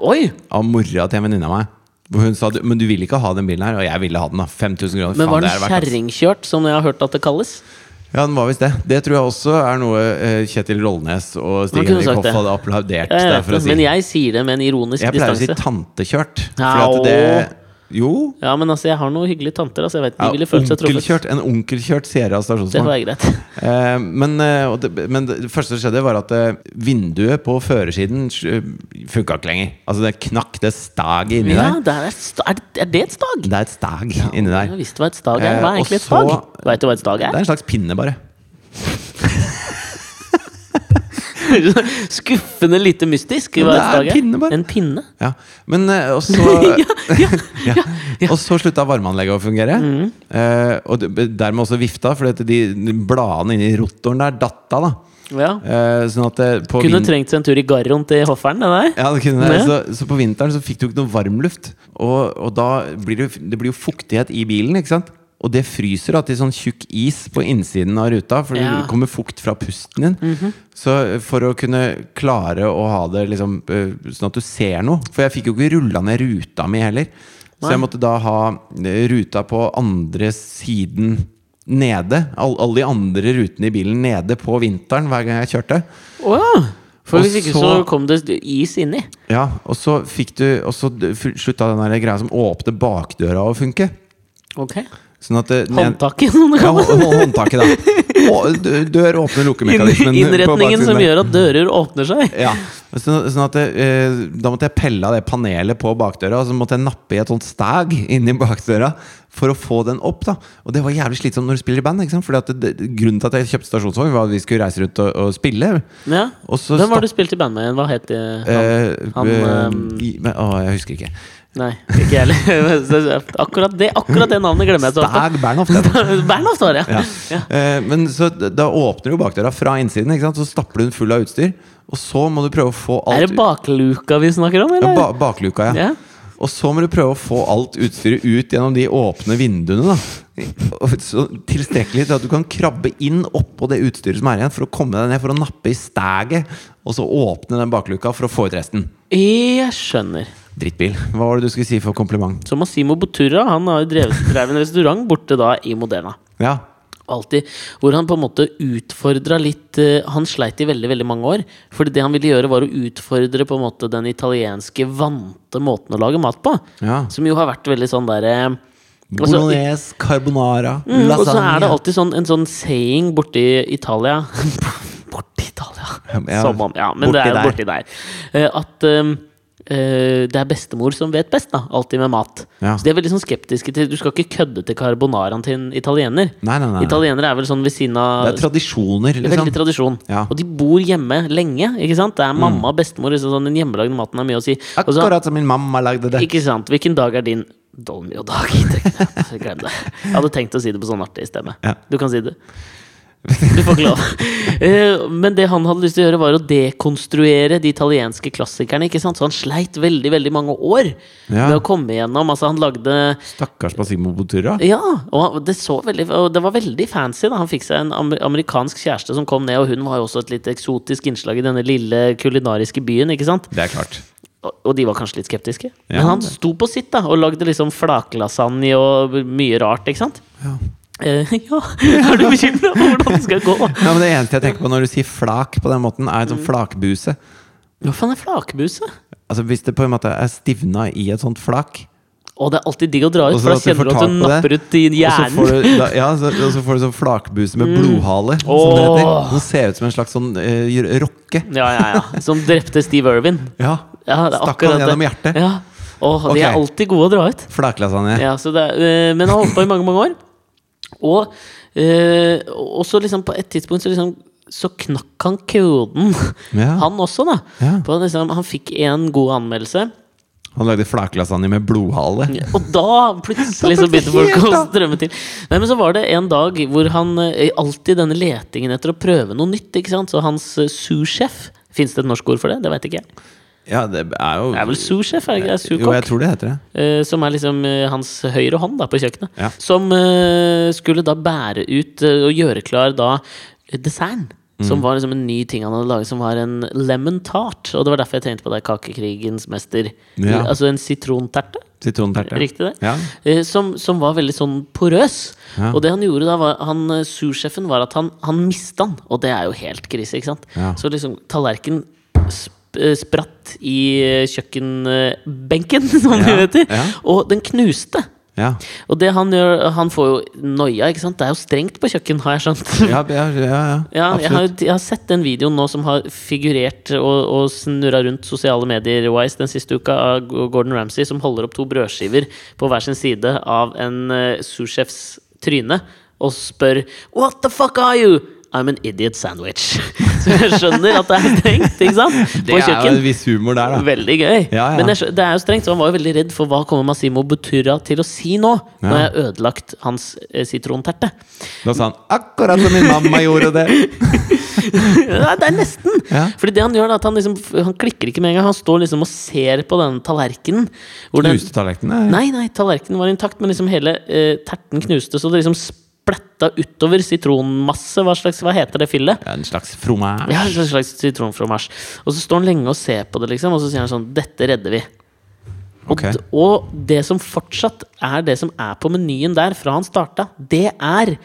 A: Oi!
B: av mora til en venninne av meg. Hvor hun sa "Du- men du vil ikke ha den bilen her, og jeg ville ha den. da 5000 kroner.
A: Men
B: faen,
A: var
B: det
A: den
B: er verdt det, ass.
A: kjerringkjørt, som jeg har hørt at det kalles?
B: Ja, den var visst det. Det tror jeg også er noe eh, Kjetil Rollnes
A: Man
B: og Stig
A: kunne
B: Henrik
A: sagt
B: Hoff
A: det.
B: hadde
A: Jeg
B: applaudert. der
A: vet
B: for å
A: det,
B: si.
A: Men jeg sier det med en ironisk
B: Jeg pleier å si
A: distanse.
B: tantekjørt.
A: Au.
B: For at det Jo.
A: Ja, men altså, jeg har noen hyggelige tanter. Altså, jeg vet, de
B: Ja,
A: ville følt seg truffet.
B: onkelkjørt, en onkelkjørt Sierra
A: Det får
B: stasjonsvogn.
A: være
B: (laughs)
A: greit.
B: Eh, men, eh, og det, men det første som skjedde, var at eh, vinduet på førersiden funka ikke lenger. Altså, det knakk, det stag inni
A: Ja,
B: der.
A: det er, et sta- er, det- er det et stag?
B: Det er et stag inni der.
A: Jeg visste hva et stag er. Hva er
B: Eh, og
A: egentlig et
B: så-
A: stag? Vet du hva et stag
B: Det
A: er?
B: er en slags pinne, bare.
A: (laughs) Skuffende lite mystisk. Hva et
B: Men det er
A: stag
B: en pinne, bare.
A: En pinne?
B: Ja. Men eh, og så (laughs) ja. Og så slutta varmeanlegget å fungere. Eh, og det- dermed også vifta, for de de bladene inni rotoren der datt av. da.
A: Ja.
B: Eh, sånn at det, på
A: Kunne
B: vin-
A: trengt seg en tur i garroen til hofferen, det der.
B: Ja, det kunne det.
A: Ja.
B: Så, så på vinteren så fikk du ikke noe varmluft. Og, og da blir det, det blir jo fuktighet i bilen, ikke sant? Og det fryser da til sånn tjukk is på innsiden av ruta, for
A: Ja.
B: det kommer fukt fra pusten din. Så eh, for å kunne klare å ha det liksom eh, sånn at du ser noe For jeg fikk jo ikke rulla ned ruta mi heller. Så jeg måtte da ha eh, ruta på andre siden nede. All- Alle de andre rutene i bilen nede på vinteren hver gang jeg kjørte.
A: Å ja. For
B: Og
A: hvis ikke så
B: så-
A: kom det is inni.
B: Ja, og så fikk du Og så d- fu- slutta den der greia som åpte bakdøra å funke.
A: Ok.
B: Sånn at det- den-
A: Håndtaket. som det
B: Ja, hå-
A: kalles.
B: hå- håndtaket, da. Hå- d- Dør åpner lukkemekanismen. på
A: Innretningen
B: baksiden
A: som
B: der.
A: gjør at dører åpner seg.
B: ja. sånn, sånn at det, eh, Da måtte jeg pelle av det panelet på bakdøra, og så måtte jeg nappe i et sånt stag inni bakdøra for å få den opp. da Og det var jævlig slitsomt når du spiller i band. Ikke sant? Fordi at det, det- grunnen til at jeg kjøpte stasjonsvogn, var at vi skulle reise rundt og, og spille.
A: Ja.
B: Og så
A: Hvem var det du
B: stapp-
A: spilte i band med igjen? Hva het det? han?
B: eh,
A: Han,
B: eh,
A: ehm,
B: i- men- Å, jeg husker ikke.
A: Nei, ikke jeg heller. (laughs) Akkurat det, akkurat det navnet glemmer jeg så ofte.
B: Stag Bernhoft. heter det.
A: (laughs) Bernhoft var det, ja. ja.
B: Eh, men så d- da åpner jo bakdøra fra innsiden, ikke sant? så stapper du den full av utstyr. Og så må du prøve å få alt
A: Er det bakluka vi snakker om,
B: ja,
A: eller?
B: ba bakluka, ja.
A: Ja.
B: Og så må du prøve å få alt utstyret ut gjennom de åpne vinduene. da Og så Tilstrekkelig til at du kan krabbe inn oppå det utstyret som er igjen, for å komme deg ned for å nappe i staget, og så åpne den bakluka for å få ut resten.
A: Jeg skjønner.
B: Drittbil. Hva var det du skulle si for kompliment?
A: Så Massimo Bottura han har jo drevet, drev en restaurant borte da i Modena.
B: Ja,
A: Alltid. Hvor han på en måte utfordra litt eh, Han sleit i veldig veldig mange år. Fordi det han ville gjøre, var å utfordre på en måte den italienske vante måten å lage mat på.
B: ja.
A: Som jo har vært veldig sånn derre
B: Bolognese, carbonara,
A: Mm, og så er det
B: lasagne
A: alltid sånn, en sånn saying borti Italia (laughs) Borti Italia!
B: Ja,
A: Som om, ja, men
B: borti
A: det er jo
B: der.
A: borti der. Eh, At ehm, eh, det er bestemor som vet best, da. Alltid med mat.
B: Ja.
A: Så de er veldig sånn skeptiske til Du skal ikke kødde til carbonaraen til en italiener.
B: Nei, nei, nei. nei.
A: Italienere er vel sånn ved siden
B: Det er
A: av
B: tradisjoner, liksom.
A: Veldig tradisjon.
B: Ja. Mm.
A: Og de bor hjemme lenge. ikke sant? Det er mamma og bestemor. Liksom, sånn, den hjemmelagde maten har mye å si. Og så-
B: Akkurat som min mamma lagde det.
A: ikke sant. Hvilken dag er din Dolmio-dag? Glem det. (laughs) Jeg hadde tenkt å si det på sånn artig stemme.
B: Ja.
A: Du kan si det. Du får
B: (laughs)
A: ikke lov. Eh, Men det han hadde lyst til å gjøre, var å dekonstruere de italienske klassikerne. ikke sant? Så han sleit veldig veldig mange år
B: Ja.
A: med å komme igjennom. Altså, han lagde
B: Stakkars Basimo Botura.
A: ja, og det, så veldig, og det var veldig fancy. da Han fikk seg en amer- amerikansk kjæreste som kom ned, og hun var jo også et litt eksotisk innslag i denne lille kulinariske byen. ikke sant?
B: Det er klart.
A: Og og de var kanskje litt skeptiske.
B: Ja.
A: Men han sto på sitt da og lagde liksom flaklasagne og mye rart, ikke sant?
B: Ja.
A: Eh, (laughs) ja, er du bekymra for hvordan det skal gå?
B: Ja, men det eneste jeg tenker på når du sier flak på den måten, er en
A: Mm.
B: sånn flakbuse.
A: Hva faen er flakbuse?
B: Altså Hvis det på en måte er stivna i et sånt flak
A: Og det er alltid digg å dra ut,
B: Og
A: for
B: så
A: da
B: at du
A: kjenner du
B: får
A: at
B: tak
A: du
B: på det,
A: napper ut i
B: og så får
A: hjernen.
B: du, da, ja, så, og så får du sånn flakbuse med blodhale, som det heter.
A: Mm. Åh.
B: Som ser ut som en slags sånn eh, rokke.
A: (laughs) Ja, ja, ja. Som drepte Steve Irwin.
B: Ja.
A: Ja, det er
B: Stakk
A: akkurat
B: han
A: det.
B: gjennom hjertet.
A: Ja. Åh, de er
B: Ok.
A: alltid gode å dra ut.
B: Flaklasagne.
A: Ja, så det, er- eh, men han holdt på i mange, mange år. Og eh, også liksom på et tidspunkt så, liksom, så knakk han koden,
B: Ja.
A: han også, da.
B: Ja.
A: På liksom, han fikk én god anmeldelse,
B: Han lagde flaklasagne med blodhale.
A: og da plutselig så begynte folk å strømme til. Nei, men så var det en dag hvor han eh, alltid denne letingen etter å prøve noe nytt, ikke sant. Så hans eh, sous-sjef Fins det et norsk ord for det? Det veit ikke jeg.
B: Ja, det er jo
A: Det er vel sous-sjef? er det ikke det?
B: Jo, jeg
A: Sous-kokk?
B: tror det heter det.
A: Eh, som er liksom eh, hans høyre hånd da, på kjøkkenet.
B: Ja.
A: Som eh, skulle da bære ut eh, og gjøre klar da eh, desserten.
B: Mm.
A: Som var liksom en ny ting han hadde laget, som var en lemon tart. Og det var derfor jeg tenkte på deg, Kakekrigens mester.
B: Ja.
A: Altså en sitronterte.
B: Sitronterte.
A: Riktig det?
B: Ja.
A: Eh, Som, som var veldig sånn porøs.
B: Ja.
A: Og det han gjorde da, var han, eh, sous-sjefen, var at han, han mista den. Og det er jo helt krise, ikke sant?
B: Ja.
A: Så liksom tallerkenen sp eh, spratt i eh, kjøkkenbenken, (laughs) som det
B: Ja,
A: heter.
B: ja.
A: Og den knuste.
B: Ja.
A: Og det han gjør, han får jo noia, ikke sant? Det er jo strengt på kjøkken, har jeg skjønt.
B: Ja, ja, ja, ja.
A: Ja, jeg har,
B: absolutt.
A: jeg har sett den videoen nå som har figurert og, og snurra rundt sosiale medier-wise den siste uka av Gordon Ramsay som holder opp to brødskiver på hver sin side av en uh, souschefs tryne og spør What the fuck are you? I'm an idiot sandwich. (laughs) Så jeg skjønner at det er strengt, ikke sant? På
B: Det er jo en
A: kjøkken.
B: viss humor der, da.
A: Veldig gøy.
B: Ja, ja.
A: Men jeg skjø- det er jo strengt, så han var jo veldig redd for hva kommer Massimo Buturra til å si nå, når jeg har ødelagt hans eh, sitronterte.
B: Da sa han akkurat som min mamma gjorde
A: (laughs)
B: det!
A: Ja, det er nesten!
B: Ja.
A: Fordi det han gjør, er at han, liksom, han klikker ikke med en gang. Han står liksom og ser på denne tallerkenen. hvor den-
B: Knuste tallerkenene.
A: Nei, nei, tallerkenen var intakt, men liksom hele eh, terten knuste, så det liksom spletta utover sitronmasse. Hva slags, hva heter det fillet?
B: En slags fromage.
A: Ja, en slags sitronfromasj. Og så står han lenge og ser på det, liksom, og så sier han sånn Dette redder vi.
B: Ok.
A: D- Og det som fortsatt er det som er på menyen der fra han starta, det er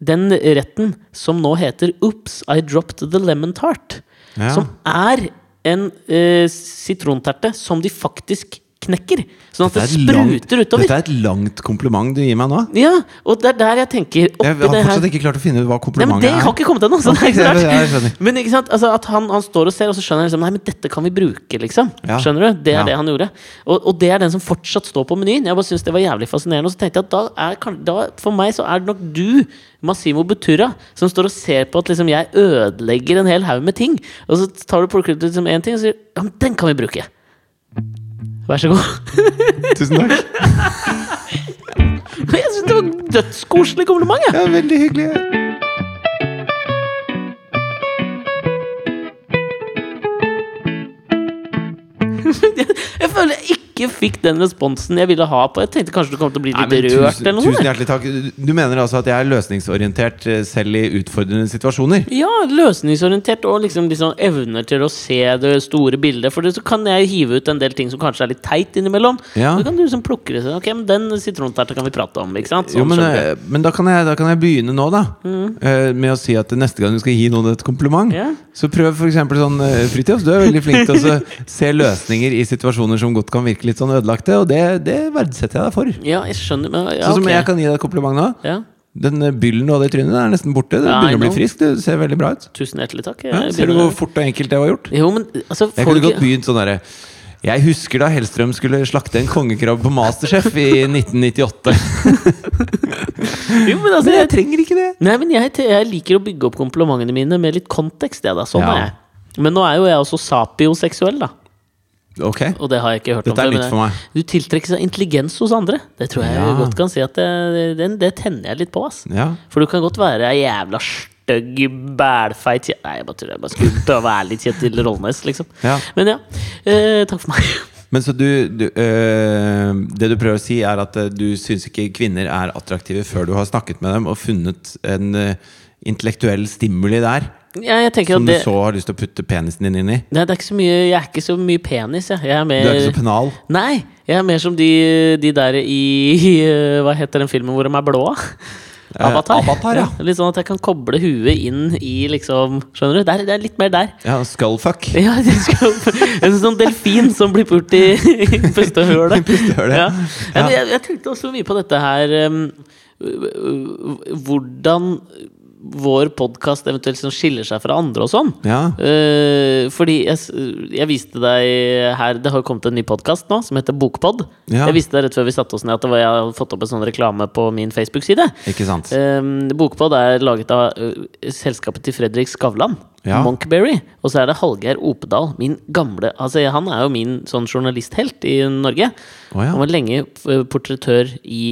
A: den retten som nå heter Oops, I dropped the lemon tart.
B: Ja.
A: Som er en eh, sitronterte som de faktisk knekker. Sånn at det,
B: er et langt-
A: spruter utover.
B: Dette er et langt kompliment du gir meg nå.
A: Ja, og det er der jeg tenker oppi
B: Jeg har
A: det her
B: fortsatt ikke klart å finne ut
A: Nei,
B: hva
A: men
B: komplimentet
A: Det har
B: er.
A: ikke kommet ennå! så det er
B: Ok,
A: ikke så
B: ja, ja, jeg
A: rart.
B: skjønner.
A: (laughs) Men ikke sant, altså at han, han står og ser, og så skjønner han liksom Nei, men dette kan vi bruke, liksom.
B: Ja.
A: Skjønner du? Det er
B: Ja.
A: det han gjorde. Og, og det er den som fortsatt står på menyen. Jeg bare synes det var jævlig fascinerende. Og så tenkte jeg at da er kan- da, for meg så er det nok du, Massimo Buturra, som står og ser på at liksom jeg ødelegger en hel haug med ting. Og så tar du plukker ut liksom én ting og sier Ja, men den kan vi bruke. Vær så god. (laughs)
B: Tusen takk.
A: Jeg synes det var dødskoselig kompliment, jeg.
B: Ja, veldig hyggelig.
A: Jeg føler jeg ikke fikk den responsen jeg ville ha på. Jeg tenkte kanskje du kom til å bli
B: Nei,
A: litt
B: men
A: rørt
B: tusen,
A: eller noe.
B: tusen hjertelig takk. Du mener altså at jeg er løsningsorientert eh, selv i utfordrende situasjoner?
A: Ja, løsningsorientert og liksom, liksom evner til å se det store bildet. For det, så kan jeg hive ut en del ting som kanskje er litt teit innimellom.
B: Ja.
A: Så kan du liksom plukke det sånn. Ok, men den sitronterta kan vi prate om, ikke sant? Sånn
B: Jo, men,
A: skjønner
B: eh, men da, kan jeg, da kan jeg begynne nå, da. Eh, Med å si at neste gang du skal gi noen et kompliment,
A: Mm. Ja.
B: så prøv f.eks. sånn eh, Fridtjof, du er veldig flink til å så
A: (laughs)
B: se løsninger i situasjoner som godt kan virke litt sånn ødelagte, og det, det verdsetter jeg deg for.
A: du. Ja, jeg skjønner. Men, ja,
B: Sånn som
A: ok.
B: jeg kan gi deg et kompliment nå.
A: ja.
B: Den eh, byllen du hadde i trynet, den er nesten borte. Du
A: Ja, I
B: begynner å bli
A: know.
B: frisk. Du ser veldig bra ut.
A: Tusen hjertelig takk. Jeg
B: Ja, ser du
A: begynner-
B: hvor fort og enkelt det var gjort?
A: Jo, men altså
B: Jeg
A: folk-
B: kunne godt begynt sånn derre Jeg husker da Hellstrøm skulle slakte en kongekrabbe på Masterchef
A: (laughs)
B: i 1998.
A: Jo, men altså
B: Men jeg
A: jeg,
B: trenger ikke det.
A: Nei, men jeg, jeg liker å bygge opp komplimentene mine med litt kontekst, jeg, da. Sånn
B: Ja.
A: er jeg. Men nå er jo jeg også sapioseksuell, da.
B: Ok.
A: Og det har jeg ikke hørt
B: Dette
A: om
B: er
A: før,
B: nytt
A: men
B: for meg.
A: Du tiltrekkes av intelligens hos andre. Det tror jeg
B: Ja.
A: godt kan si at det, det, det tenner jeg litt på. ass
B: Ja.
A: For du kan godt være ei jævla stygg, bælfeit kje- Nei, jeg bare tuller. Jeg bare skulle prøve å være litt Kjetil Rollnes, liksom.
B: Ja.
A: Men ja. Eh, takk for meg. (laughs)
B: Men så du, du øh, Det du prøver å si, er at øh, du syns ikke kvinner er attraktive før du har snakket med dem og funnet en øh, intellektuell stimuli der
A: Ja, jeg tenker
B: som
A: at det,
B: du så har lyst til å putte penisen din inn i.
A: nei, det er ikke så mye, jeg er ikke så mye penis, jeg. jeg er
B: Du
A: mer,
B: er ikke så penal.
A: Nei, jeg er mer som de, de der i, i eh, Hva heter den filmen hvor de er blå?
B: Eh,
A: Avatar.
B: Avatar, ja.
A: Litt sånn at jeg kan koble huet inn i liksom Skjønner du? Der, det er litt mer der. (laughs)
B: Ja, Skullfuck.
A: Ja, det skal, en sånn delfin som blir pult i i
B: (laughs)
A: pustehølet.
B: pustehølet,
A: Ja.
B: ja.
A: Ja, men jeg, jeg tenkte også mye på dette her um, øh, øh, Hvordan vår podkast eventuelt som skiller seg fra andre og sånn.
B: Ja.
A: Eh, fordi jeg, s- jeg viste deg her Det har jo kommet en ny podkast nå som heter Bokpod.
B: Ja.
A: Jeg viste deg rett før vi satte oss ned at det var, jeg hadde fått opp en sånn reklame på min Facebook-side.
B: Ikke sant?
A: Um, Bokpod er laget av uh, selskapet til Fredrik Skavlan,
B: Ja.
A: Monkberry. Og så er det Hallgeir Opedal, min gamle altså, Han er jo min sånn journalisthelt i Norge.
B: Å ja.
A: Han var lenge uh, portrettør i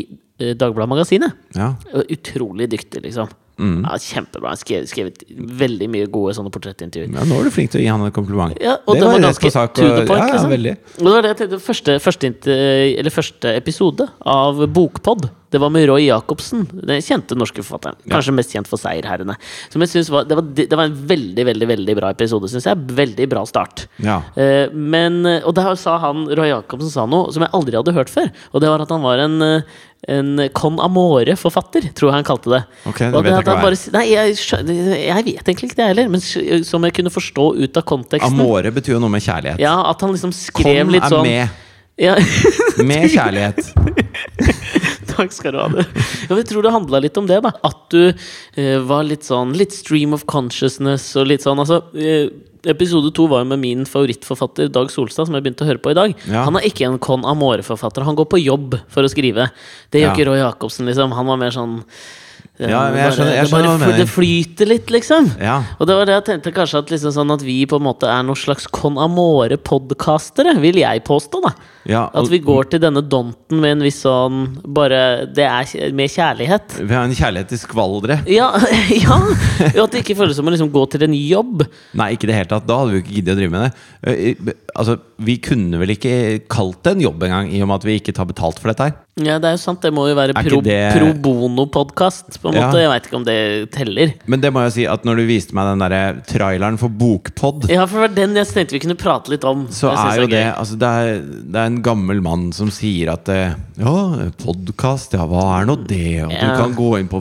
A: uh, Dagbladet Magasinet.
B: ja.
A: Og Utrolig dyktig, liksom.
B: Mm.
A: Ja, kjempebra. Han skrev, skrevet veldig mye gode sånne portrettintervjuer.
B: Ja, nå er du flink til å gi han et kompliment.
A: Ja, og
B: det
A: den
B: var
A: var
B: rett på
A: ganske
B: sak.
A: to the
B: og-
A: point,
B: ja, ja,
A: liksom.
B: veldig.
A: Og det var det jeg tenkte, første, første, inter- eller første episode av Bokpod, det var med Roy Jacobsen. Den kjente norske forfatteren. Kanskje mest kjent for Seierherrene. Som jeg synes var, det, var, det var en veldig veldig, veldig bra episode, syns jeg. Veldig bra start.
B: Ja.
A: Eh, men, og der sa han, Roy Jacobsen sa noe som jeg aldri hadde hørt før. Og det var at han var en, eh, en con amore-forfatter, tror jeg han kalte det.
B: Ok, det
A: Og
B: vet jeg
A: at
B: ikke
A: han
B: hva
A: bare
B: er.
A: s- Nei, jeg, skjø- jeg vet egentlig ikke det heller, men s- som jeg kunne forstå ut av konteksten.
B: Amore betyr jo noe med kjærlighet.
A: Ja, at han liksom skrev
B: Kom
A: litt
B: er
A: sånn
B: med.
A: (laughs) Ja, (laughs)
B: Med kjærlighet.
A: takk skal du ha. Det. Ja, men Jeg tror det handla litt om det, da. At du eh, var litt sånn Litt stream of consciousness og litt sånn. Altså, eh, episode to var jo med min favorittforfatter Dag Solstad, som jeg begynte å høre på i dag.
B: Ja.
A: Han er ikke en con amore-forfatter. Han går på jobb for å skrive. Det gjør
B: Ja.
A: ikke Roy Jacobsen, liksom. Han var mer sånn eh,
B: Ja, men jeg skjønner- jeg
A: det bare
B: skjønner hva du
A: fly-
B: mener.
A: Det flyter litt, liksom.
B: Ja.
A: Og det var det jeg tenkte kanskje at, liksom sånn at vi på en måte er noen slags con amore-podkastere, vil jeg påstå, da.
B: ja
A: At
B: og,
A: vi går til denne donten med en viss sånn Bare Det er kj- med kjærlighet.
B: vi har en kjærlighet til skvaldre.
A: Ja, (laughs) ja! Og at det ikke føles som å liksom gå til en jobb.
B: Nei, ikke i det hele tatt. Da hadde vi jo ikke giddet å drive med det. Eh, i- Altså, Vi kunne vel ikke kalt det en jobb engang, i og med at vi ikke tar betalt for dette her.
A: Ja, det er jo sant. Det må jo være
B: Er ikke
A: pro,
B: det-
A: pro bono-podkast, på en
B: Ja.
A: måte. Jeg veit ikke om det teller.
B: Men det må jeg si at når du viste meg den der traileren for Bokpod,
A: Ja, for det var den jeg tenkte vi kunne prate litt om.
B: så
A: Jeg synes
B: er jo
A: det
B: det altså det er, det er en gammel mann som sier at eh, Ja, podkast, ja, hva er nå det? Og du
A: Ja.
B: kan gå inn på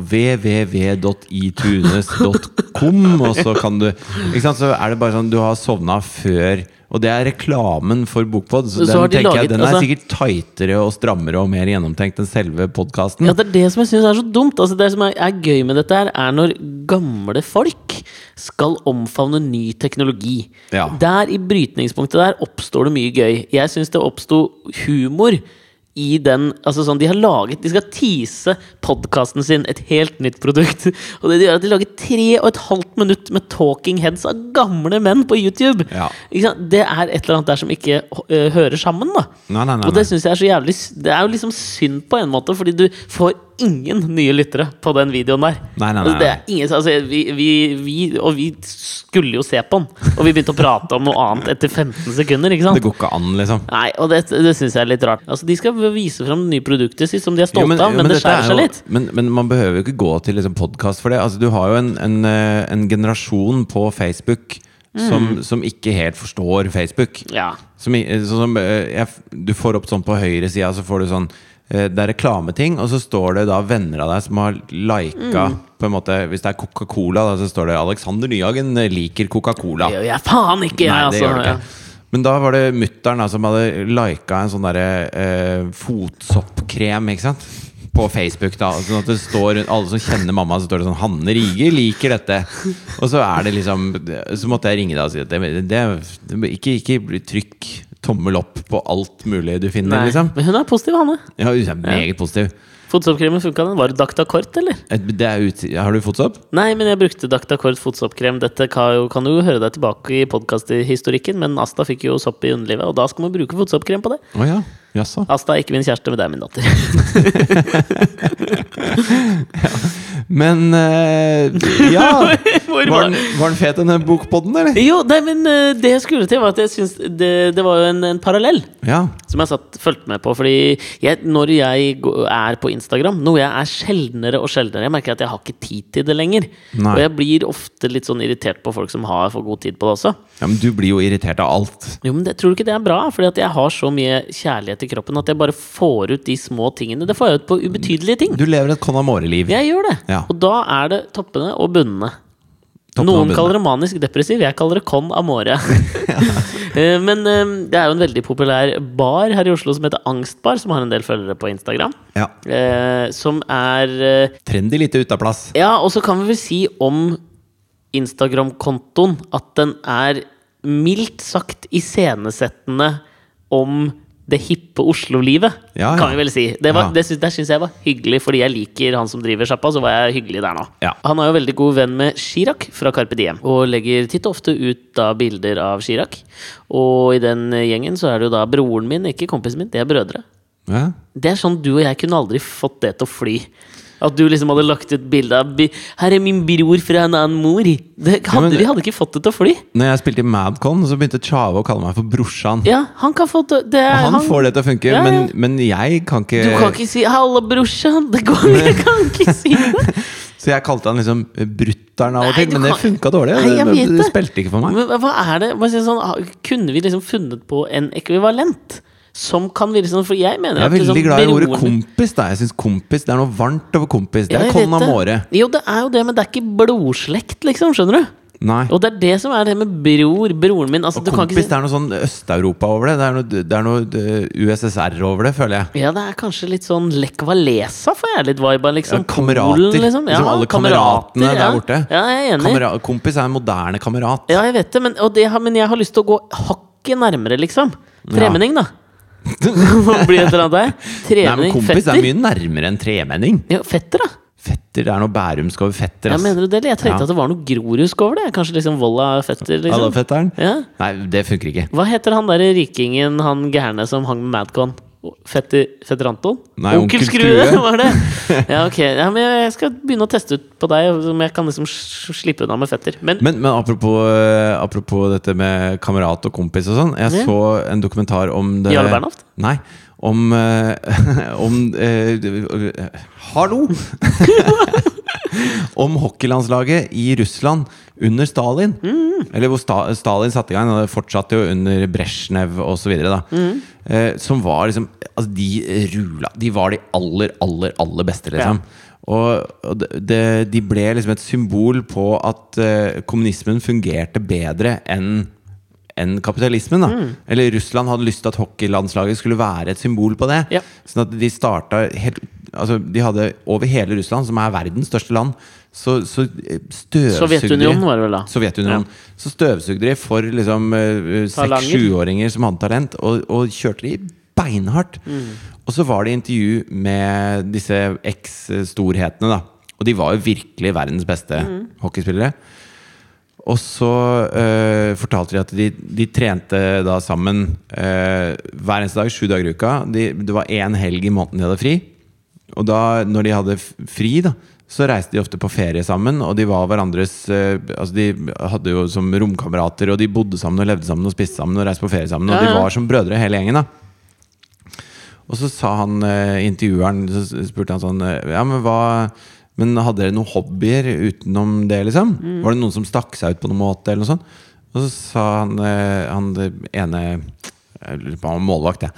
B: www.itunes.com, og så kan du Ikke sant, så er det bare sånn du har sovna før og det er reklamen for Bokpod. Så,
A: Så har de
B: den, tenker
A: laget-
B: jeg, den er
A: altså-
B: sikkert tightere og strammere og mer gjennomtenkt enn selve podkasten.
A: Ja, det er det som jeg synes er så dumt. Altså, det som er, er gøy med dette, her er når gamle folk skal omfavne ny teknologi.
B: Ja.
A: Der i brytningspunktet der oppstår det mye gøy. Jeg syns det oppsto humor. I den, altså sånn, de har laget De skal tease podkasten sin, et helt nytt produkt. (laughs) Og det de gjør er at de lager tre og et halvt minutt med talking heads av gamle menn på YouTube!
B: Ja.
A: Ikke sant? Det er et eller annet der som ikke eh, hører sammen, da.
B: Nei, nei, nei,
A: Og det synes jeg er så jævlig s- Det er jo liksom synd på en måte, fordi du får ingen nye lyttere på den videoen der.
B: Nei, nei, nei,
A: Altså, det er ingen, altså, vi, vi, vi, og vi skulle jo se på den, og vi begynte å prate om noe annet etter 15 sekunder. ikke
B: Det
A: sant?
B: går ikke an, liksom.
A: Nei, og det, det syns jeg er litt rart. Altså, De skal vise fram nye produkter sitt som de er
B: Jo,
A: stolte av, men, det
B: dette er
A: skjærer seg
B: jo-
A: litt.
B: Men, men man behøver jo ikke gå til liksom podkast for det. Altså, du har jo en, en, eh, en generasjon på Facebook
A: Mm.
B: som, som ikke helt forstår Facebook.
A: Ja.
B: Som, i- eh, sånn som, eh, jeg, f- du får opp sånn på høyre sida, så får du sånn eh, det er reklameting, og så står det da venner av deg som har lika
A: Mm.
B: på en måte, Hvis det er Coca-Cola, da, så står det 'Alexander Nyhagen eh, liker Coca-Cola'.
A: Det gjør jeg faen ikke! jeg,
B: Nei, det
A: altså,
B: gjør det
A: ja.
B: ikke. Men da var det mutter'n som hadde lika en sånn derre eh, fotsoppkrem, ikke sant? På Facebook, da. Sånn at det står Alle som kjenner mamma, så står det sånn 'Hanne Rige liker dette'. Og så er det liksom Så måtte jeg ringe deg og si at det, det, det ikke, ikke bli- trykk tommel opp på alt mulig du finner,
A: Nei.
B: liksom.
A: Men hun er positiv, Hanne.
B: Ja, hun er meget positiv.
A: Fotsoppkremen funka, den. Var det Dactacort, eller?
B: Et- Det er ut, har du fotsopp?
A: Nei, men jeg brukte Dactacort fotsoppkrem. Dette kan, jo, kan du jo høre deg tilbake i podkasthistorikken, men Asta fikk jo sopp i underlivet, og da skal man bruke fotsoppkrem på det.
B: Å ja. Jaså.
A: Asta er ikke min kjæreste, men det er min datter. (laughs)
B: Men eh, Ja! (laughs)
A: Hvor
B: Var
A: var
B: den, var den fet, denne bokpodden, eller?
A: Jo, nei, men eh, det jeg skulle til, var at jeg syns det, det var jo en, en parallell.
B: Ja.
A: Som jeg satt, fulgte med på. Fordi jeg, når jeg gå- er på Instagram, noe jeg er sjeldnere og sjeldnere Jeg merker at jeg har ikke tid til det lenger.
B: Nei.
A: Og jeg blir ofte litt sånn irritert på folk som har for god tid på det også.
B: Ja, men du blir jo irritert av alt.
A: Jo, men det, Tror du ikke det er bra? Fordi at jeg har så mye kjærlighet i kroppen at jeg bare får ut de små tingene. Det får jeg ut på ubetydelige ting.
B: Du lever et Conamore-liv.
A: Jeg gjør det.
B: Ja.
A: Og da er det toppene og bunnene.
B: Toppene og
A: Noen
B: bunnene. (laughs)
A: kaller det manisk depressiv, jeg kaller det con amore. (laughs) Eh, Men eh, det er jo en veldig populær bar her i Oslo som heter Angstbar, som har en del følgere på Instagram.
B: Ja.
A: Eh, Som er eh,
B: Trendy lite ute av plass.
A: Ja, og så kan vi vel si om Instagram-kontoen at den er mildt sagt iscenesettende om det hippe Oslo-livet,
B: Ja, ja.
A: kan vi vel si. Det, var,
B: Ja.
A: det, syns- det syns jeg var hyggelig, fordi jeg liker han som driver sjappa. Så var jeg hyggelig der nå.
B: Ja.
A: Han er jo veldig god venn med Chirag fra Carpe Diem, og legger titt og ofte ut da bilder av Chirag. Og i den gjengen så er det jo da broren min, ikke kompisen min, det er brødre.
B: Ja.
A: Det er sånn du og jeg kunne aldri fått det til å fly. At du liksom hadde lagt ut bilde av bi- 'Her er min bror fra en annen mor'. Det
B: Ja,
A: hadde,
B: men-
A: vi hadde ikke fått det til å fly.
B: Når jeg spilte i Madcon, så begynte Tjave å kalle meg for brorsan.
A: Ja, han kan få det, det er,
B: Og han får det til å funke,
A: Ja, ja.
B: men, men jeg kan ikke,
A: Du kan ikke si 'halla, brorsan'. Det går, jeg kan ikke si
B: (laughs)
A: det.
B: Så jeg kalte han liksom brutter'n av
A: Nei,
B: og til,
A: du
B: men det
A: kan-
B: funka dårlig.
A: Nei, jeg
B: det,
A: vet
B: det,
A: det.
B: spilte ikke for meg.
A: Men hva- hva er det? Bare si sånn, ah, kunne vi liksom funnet på en ekvivalent? Som kan virke sånn, for jeg mener
B: Jeg er
A: at liksom,
B: veldig glad i ordet
A: broren-
B: kompis. Da. Jeg synes kompis Det er noe varmt over kompis. Det
A: Ja,
B: er
A: jeg
B: con
A: vet det.
B: amore.
A: Jo, det er jo det, men det er ikke blodslekt, liksom. Skjønner du?
B: Nei.
A: Og det er det som er det med bror, broren min. Altså, du kan ikke
B: Kompis,
A: si
B: det er noe sånn Øst-Europa over det. Det er noe, det er noe eh, USSR over det, føler jeg.
A: Ja, det er kanskje litt sånn Lech Walesa får jeg litt vibe av, liksom.
B: Ja, kamerater.
A: Polen,
B: Liksom alle kameratene der
A: ja.
B: borte.
A: Ja, jeg er enig.
B: Kamera kompis er en moderne kamerat.
A: ja, jeg vet det, men, og det, har- men jeg har lyst til å gå hakket nærmere, liksom. Tremenning,
B: (laughs)
A: da. Hva blir et eller annet der?
B: Nei, men
A: Tremenning,
B: kompis
A: fetter.
B: er mye nærmere enn tremenning.
A: Ja, fetter, da.
B: Fetter, det er noe bærumsk over fetter.
A: Jeg
B: ass.
A: mener du det, eller? Jeg tenkte
B: Ja.
A: at det var noe grorusk over det. Kanskje liksom Volla fetter,
B: Hallo,
A: liksom.
B: fetteren.
A: Ja.
B: Nei, det funker ikke.
A: Hva heter han derre rikingen, han gærne som hang med Madcon? Fetter, fetter Anton?
B: Nei, Onkel Skrue.
A: (laughs) var
B: (laughs)
A: det! Ja, ok. Ja, men jeg skal begynne å teste ut på deg, om jeg kan liksom s- slippe unna med fetter. Men
B: Men, men apropos, eh, apropos dette med kamerat og kompis og sånn. Jeg
A: Ja.
B: så en dokumentar om det
A: Jarle Bernhoft?
B: Nei. Om, eh, (laughs) om eh, du- eh, Hallo! om hockeylandslaget i Russland under Stalin. Eller hvor sta Stalin satte i gang. og Det fortsatte jo under Brezjnev osv. Mm. Eh, som var liksom altså De rula. De var de aller, aller, aller beste, liksom. Og, og det- det, de ble liksom et symbol på at eh, kommunismen fungerte bedre enn enn kapitalismen. da Eller Russland hadde lyst til at hockeylandslaget skulle være et symbol på det.
A: Ja.
B: Sånn at de starta helt Altså, de hadde over hele Russland, som er verdens største land, så, så eh, støvsugde
A: Sovjetunionen var det vel da?
B: Sovjetunionen. Så støvsugde de for liksom
A: Talanger.
B: seks-sjuåringer som hadde talent, og, og kjørte de beinhardt.
A: Mm.
B: Og så var det intervju med disse eks-storhetene, da. Og de var jo virkelig verdens beste
A: Mm.
B: hockeyspillere. Og så eh, fortalte de at de, de trente da sammen eh, hver eneste dag, sju dager i uka. De, det var én helg i måneden de hadde fri. Og da, når de hadde f- fri, da, så reiste de ofte på ferie sammen. Og de var hverandres eh, Altså De hadde jo som romkamerater, og de bodde sammen og levde sammen og spiste sammen og reiste på ferie sammen. Og
A: Ja, ja.
B: de var som brødre, hele gjengen. da og så sa han eh, intervjueren Så s- spurte han sånn eh, Ja, men hva Men hadde dere noen hobbyer utenom det, liksom? Var det noen som stakk seg ut på noen måte, eller noe sånt? Og så sa han, eh, han det ene Jeg lurer på om han var målvakt, jeg.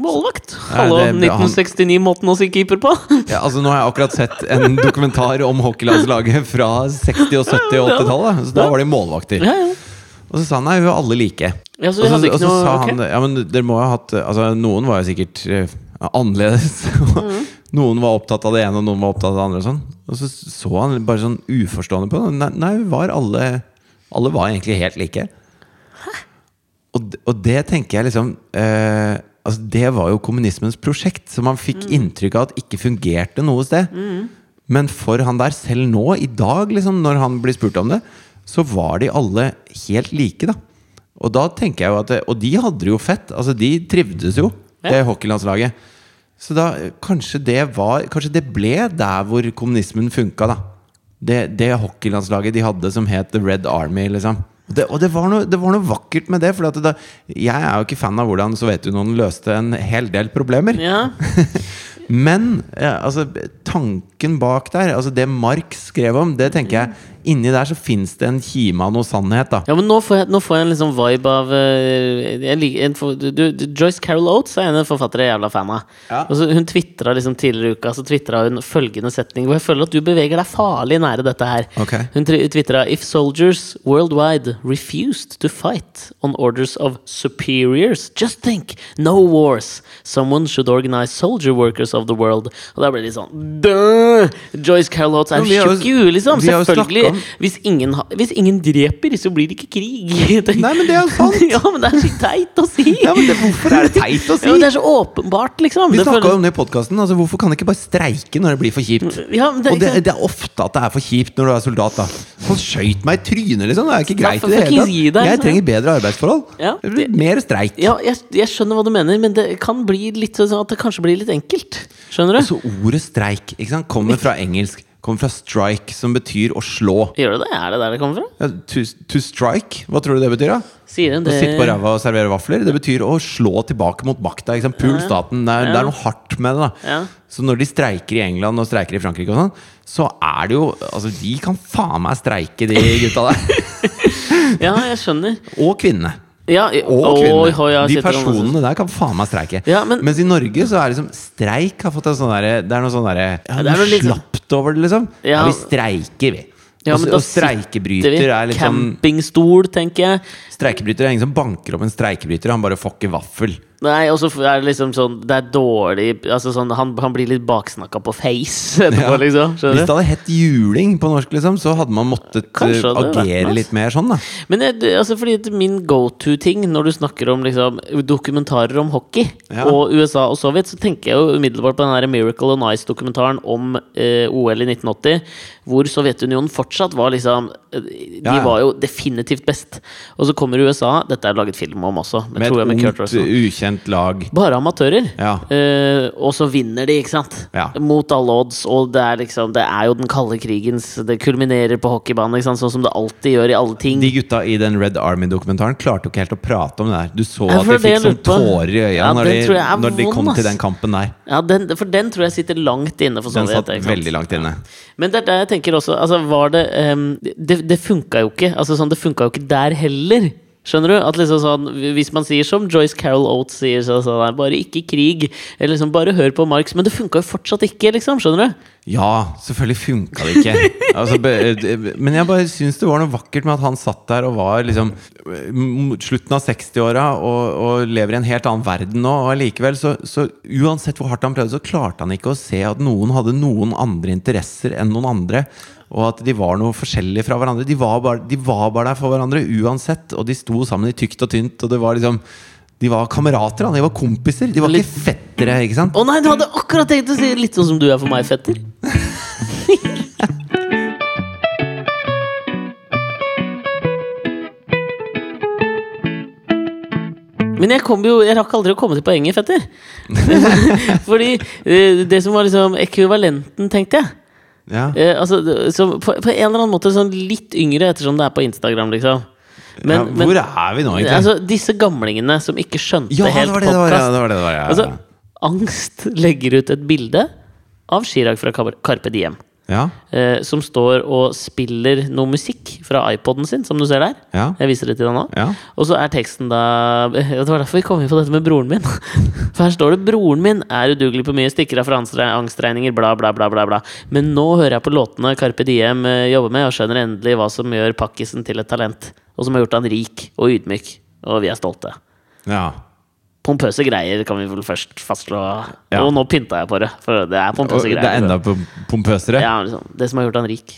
A: målvakt!
B: Nei,
A: Hallo,
B: det- det- han-
A: 1969-måten å si keeper på! (laughs)
B: Ja, altså, nå har jeg akkurat sett en dokumentar om hockeylandslaget fra 60-, og 70- og 80-tallet. Så da var de målvakter.
A: Ja, ja.
B: Og så sa han nei, vi var alle like.
A: Ja, så vi
B: og så,
A: hadde ikke
B: og så
A: noe-
B: sa
A: ok.
B: han ja, men dere må jo ha hatt altså, Noen var jo sikkert eh, annerledes. (laughs) og noen var opptatt av det ene, og noen var opptatt av det andre. Og, sånn. og så så han bare sånn uforstående på det. Nei, nei vi var alle Alle var egentlig helt like. Og, d- og det tenker jeg liksom eh, Altså Det var jo kommunismens prosjekt, som man fikk inntrykk av at ikke fungerte noe sted. Men for han der, selv nå, i dag, liksom, når han blir spurt om det, så var de alle helt like, da. Og da tenker jeg jo at det, Og de hadde det jo fett. Altså De trivdes jo, det hockeylandslaget. Så da eh, kanskje det var Kanskje det ble der hvor kommunismen funka, da. Det, det hockeylandslaget de hadde som het The Red Army, liksom. Og Det, og det var, noe, det var noe vakkert med det. For at det, jeg er jo ikke fan av hvordan Sovjetunionen løste en hel del problemer.
A: ja.
B: Men ja, altså, tanken bak der, altså det Marx skrev om, det tenker jeg inni der så fins det en kime av noe sannhet, da.
A: Ja, men nå får jeg, nå får jeg en liksom vibe av eh, jeg liker, en, for- du, du, Joyce Carol Oates er en forfatter jeg er jævla fan av.
B: Ja.
A: Og så hun twitra liksom tidligere i uka Så twitteret hun følgende setning, hvor jeg føler at du beveger deg farlig nære dette her.
B: Ok.
A: Hun tvitra If soldiers worldwide refused to fight on orders of superiors, just think, no wars. Someone should organize soldier workers of the world. Og da ble det litt sånn Døh! Joyce Carol Oates er
B: Men vi har jo-
A: tjukk i huet, liksom.
B: vi har jo snakket
A: Selvfølgelig.
B: om-
A: Hvis ingen, ha- hvis ingen dreper, så blir det ikke krig.
B: Nei, men det er jo sant.
A: (laughs) ja, men det er så teit å si!
B: Ja, men det, hvorfor
A: (laughs)
B: er det teit å
A: Ja,
B: si?
A: men det er så åpenbart, liksom.
B: Vi
A: Det
B: snakka
A: føles-
B: om det i podkasten. Altså, hvorfor kan de ikke bare streike når det blir for kjipt?
A: ja, men det,
B: Og det, det er ofte at det er for kjipt når du er soldat. da Han skøyt meg i trynet, liksom! Det er ikke greit.
A: for-
B: i det
A: for
B: hele
A: ikke gi
B: tatt
A: deg,
B: Jeg
A: liksom.
B: trenger bedre arbeidsforhold.
A: Ja,
B: Det blir Mer streik.
A: ja, jeg, jeg skjønner hva du mener, men det kan bli litt sånn at det kanskje blir litt enkelt. Skjønner du?
B: Så Altså, ordet streik ikke sant? kommer fra engelsk. Kommer fra strike, som betyr å slå.
A: Gjør det det? Er det der det kommer fra?
B: Ja, to, to strike, hva tror du det betyr? da?
A: Sier hun
B: Å
A: det
B: sitte på ræva og servere vafler. Det betyr å slå tilbake mot makta. ikke sant? Pul staten. Det er, det er noe hardt med det. da
A: Ja.
B: Så når de streiker i England og streiker i Frankrike, og sånn så er det jo Altså, de kan faen meg streike, de
A: (laughs)
B: gutta der.
A: Ja, jeg skjønner.
B: Og kvinnene.
A: Ja, i-
B: Og
A: Oi,
B: kvinnene.
A: oi, jeg
B: de
A: sitter og-
B: personene der kan faen meg streike.
A: Ja, men-
B: Mens i Norge så er liksom streik har fått en sånn derre Det er noe sånn derre ja,
A: Ja, det er
B: Noe
A: noe litt sånn-
B: slapt over det, liksom. Ja.
A: Ja.
B: vi streiker, vi.
A: Ja,
B: Og
A: men
B: s-
A: da
B: og streikebryter
A: sitter vi.
B: er liksom
A: Campingstol, tenker jeg.
B: Streikebryter er ingen som banker opp en streikebryter. Han bare får ikke vaffel.
A: Nei, og så er det liksom sånn Det er dårlig altså sånn, han, han blir litt baksnakka på face (laughs) etterpå,
B: Ja.
A: liksom.
B: Hvis
A: Skjønner
B: det
A: du?
B: hadde hett juling på norsk, liksom, så hadde man måttet
A: Kanskje
B: eh,
A: hadde det vært
B: agere
A: noe,
B: litt mer sånn. da
A: Men jeg, altså, fordi at min go to-ting når du snakker om liksom, dokumentarer om hockey
B: Ja.
A: og USA og Sovjet, så tenker jeg jo umiddelbart på den her Miracle on Ice-dokumentaren om eh, OL i 1980, hvor Sovjetunionen fortsatt var liksom eh, De
B: Ja, ja.
A: var jo definitivt best. Og så kommer USA Dette er det laget film om også. Men
B: Med
A: tror jeg med
B: et
A: Kurt
B: ungt,
A: Russell.
B: ukjent lag.
A: Bare amatører.
B: Ja.
A: Eh, og så vinner de, ikke sant?
B: Ja.
A: Mot alle odds. Og det er, liksom, det er jo den kalde krigens Det kulminerer på hockeybanen, ikke sant? sånn som det alltid gjør i alle ting.
B: De gutta i den Red Army-dokumentaren klarte jo ikke helt å prate om det der. Du så
A: Ja,
B: at
A: for det
B: de fikk
A: jeg
B: sånn
A: lurte på.
B: tårer i øya
A: Ja,
B: når,
A: den tror
B: de,
A: jeg er
B: når de kom
A: vond,
B: til
A: ass.
B: den kampen der.
A: ja, den, for den tror jeg sitter langt inne for
B: Den satt
A: Sovjet. ikke sant?
B: veldig langt inne.
A: Men det er der jeg tenker også altså, var det, ehm, det, det funka jo ikke. Altså, sånn, det funka jo ikke der heller. Skjønner du? At liksom sånn, Hvis man sier som Joyce Carol Oates sier, så, sånn der, bare ikke krig. Eller liksom, bare hør på Marx. Men det funka jo fortsatt ikke, liksom. Skjønner du?
B: Ja, selvfølgelig funka
A: (laughs)
B: det ikke. Altså, be- d- men jeg bare syns det var noe vakkert med at han satt der og var liksom mot slutten av 60-åra og, og lever i en helt annen verden nå. Og allikevel, så, så uansett hvor hardt han prøvde, så klarte han ikke å se at noen hadde noen andre interesser enn noen andre. Og at de var noe forskjellige fra hverandre. De var bare, de var bare der for hverandre uansett. Og de sto sammen i tykt og tynt, og det var liksom De var kamerater, da. De var kompiser. De var ikke fettere, ikke sant?
A: Å nei, du hadde akkurat tenkt å si litt sånn som du er for meg, fetter. Men jeg, kom jo, jeg rakk aldri å komme til poenget, fetter. (laughs) Fordi eh, det som var liksom ekvivalenten, tenkte jeg
B: Ja.
A: eh, altså, det- som på, på en eller annen måte sånn litt yngre, ettersom det er på Instagram, liksom. Men,
B: ja, hvor er vi nå,
A: men
B: egentlig?
A: altså, disse gamlingene som ikke skjønte
B: Ja, det
A: helt
B: var det det var. Ja,
A: podkast
B: det var det det var ja.
A: Altså, Angst legger ut et bilde av Chirag fra Kar- Carpe Diem.
B: ja.
A: Eh, som står og spiller noe musikk fra iPoden sin, som du ser der.
B: Ja.
A: Jeg viser det til deg nå.
B: Ja.
A: Og så er teksten da (laughs) Det var derfor vi kom inn på dette med broren min. (laughs) For her står det 'Broren min er udugelig på mye, stikker av for anstre- angstregninger', bla, bla, bla. bla, bla. Men nå hører jeg på låtene Carpe Diem eh, jobber med, og skjønner endelig hva som gjør pakkisen til et talent. Og som har gjort han rik og ydmyk. Og vi er stolte.
B: ja.
A: Pompøse greier kan vi vel først fastslå.
B: Ja.
A: Og nå pynta jeg på det, for det er
B: Og
A: pompøse
B: det
A: greier.
B: er enda pom- pompøsere.
A: Ja, men liksom, det som har gjort han rik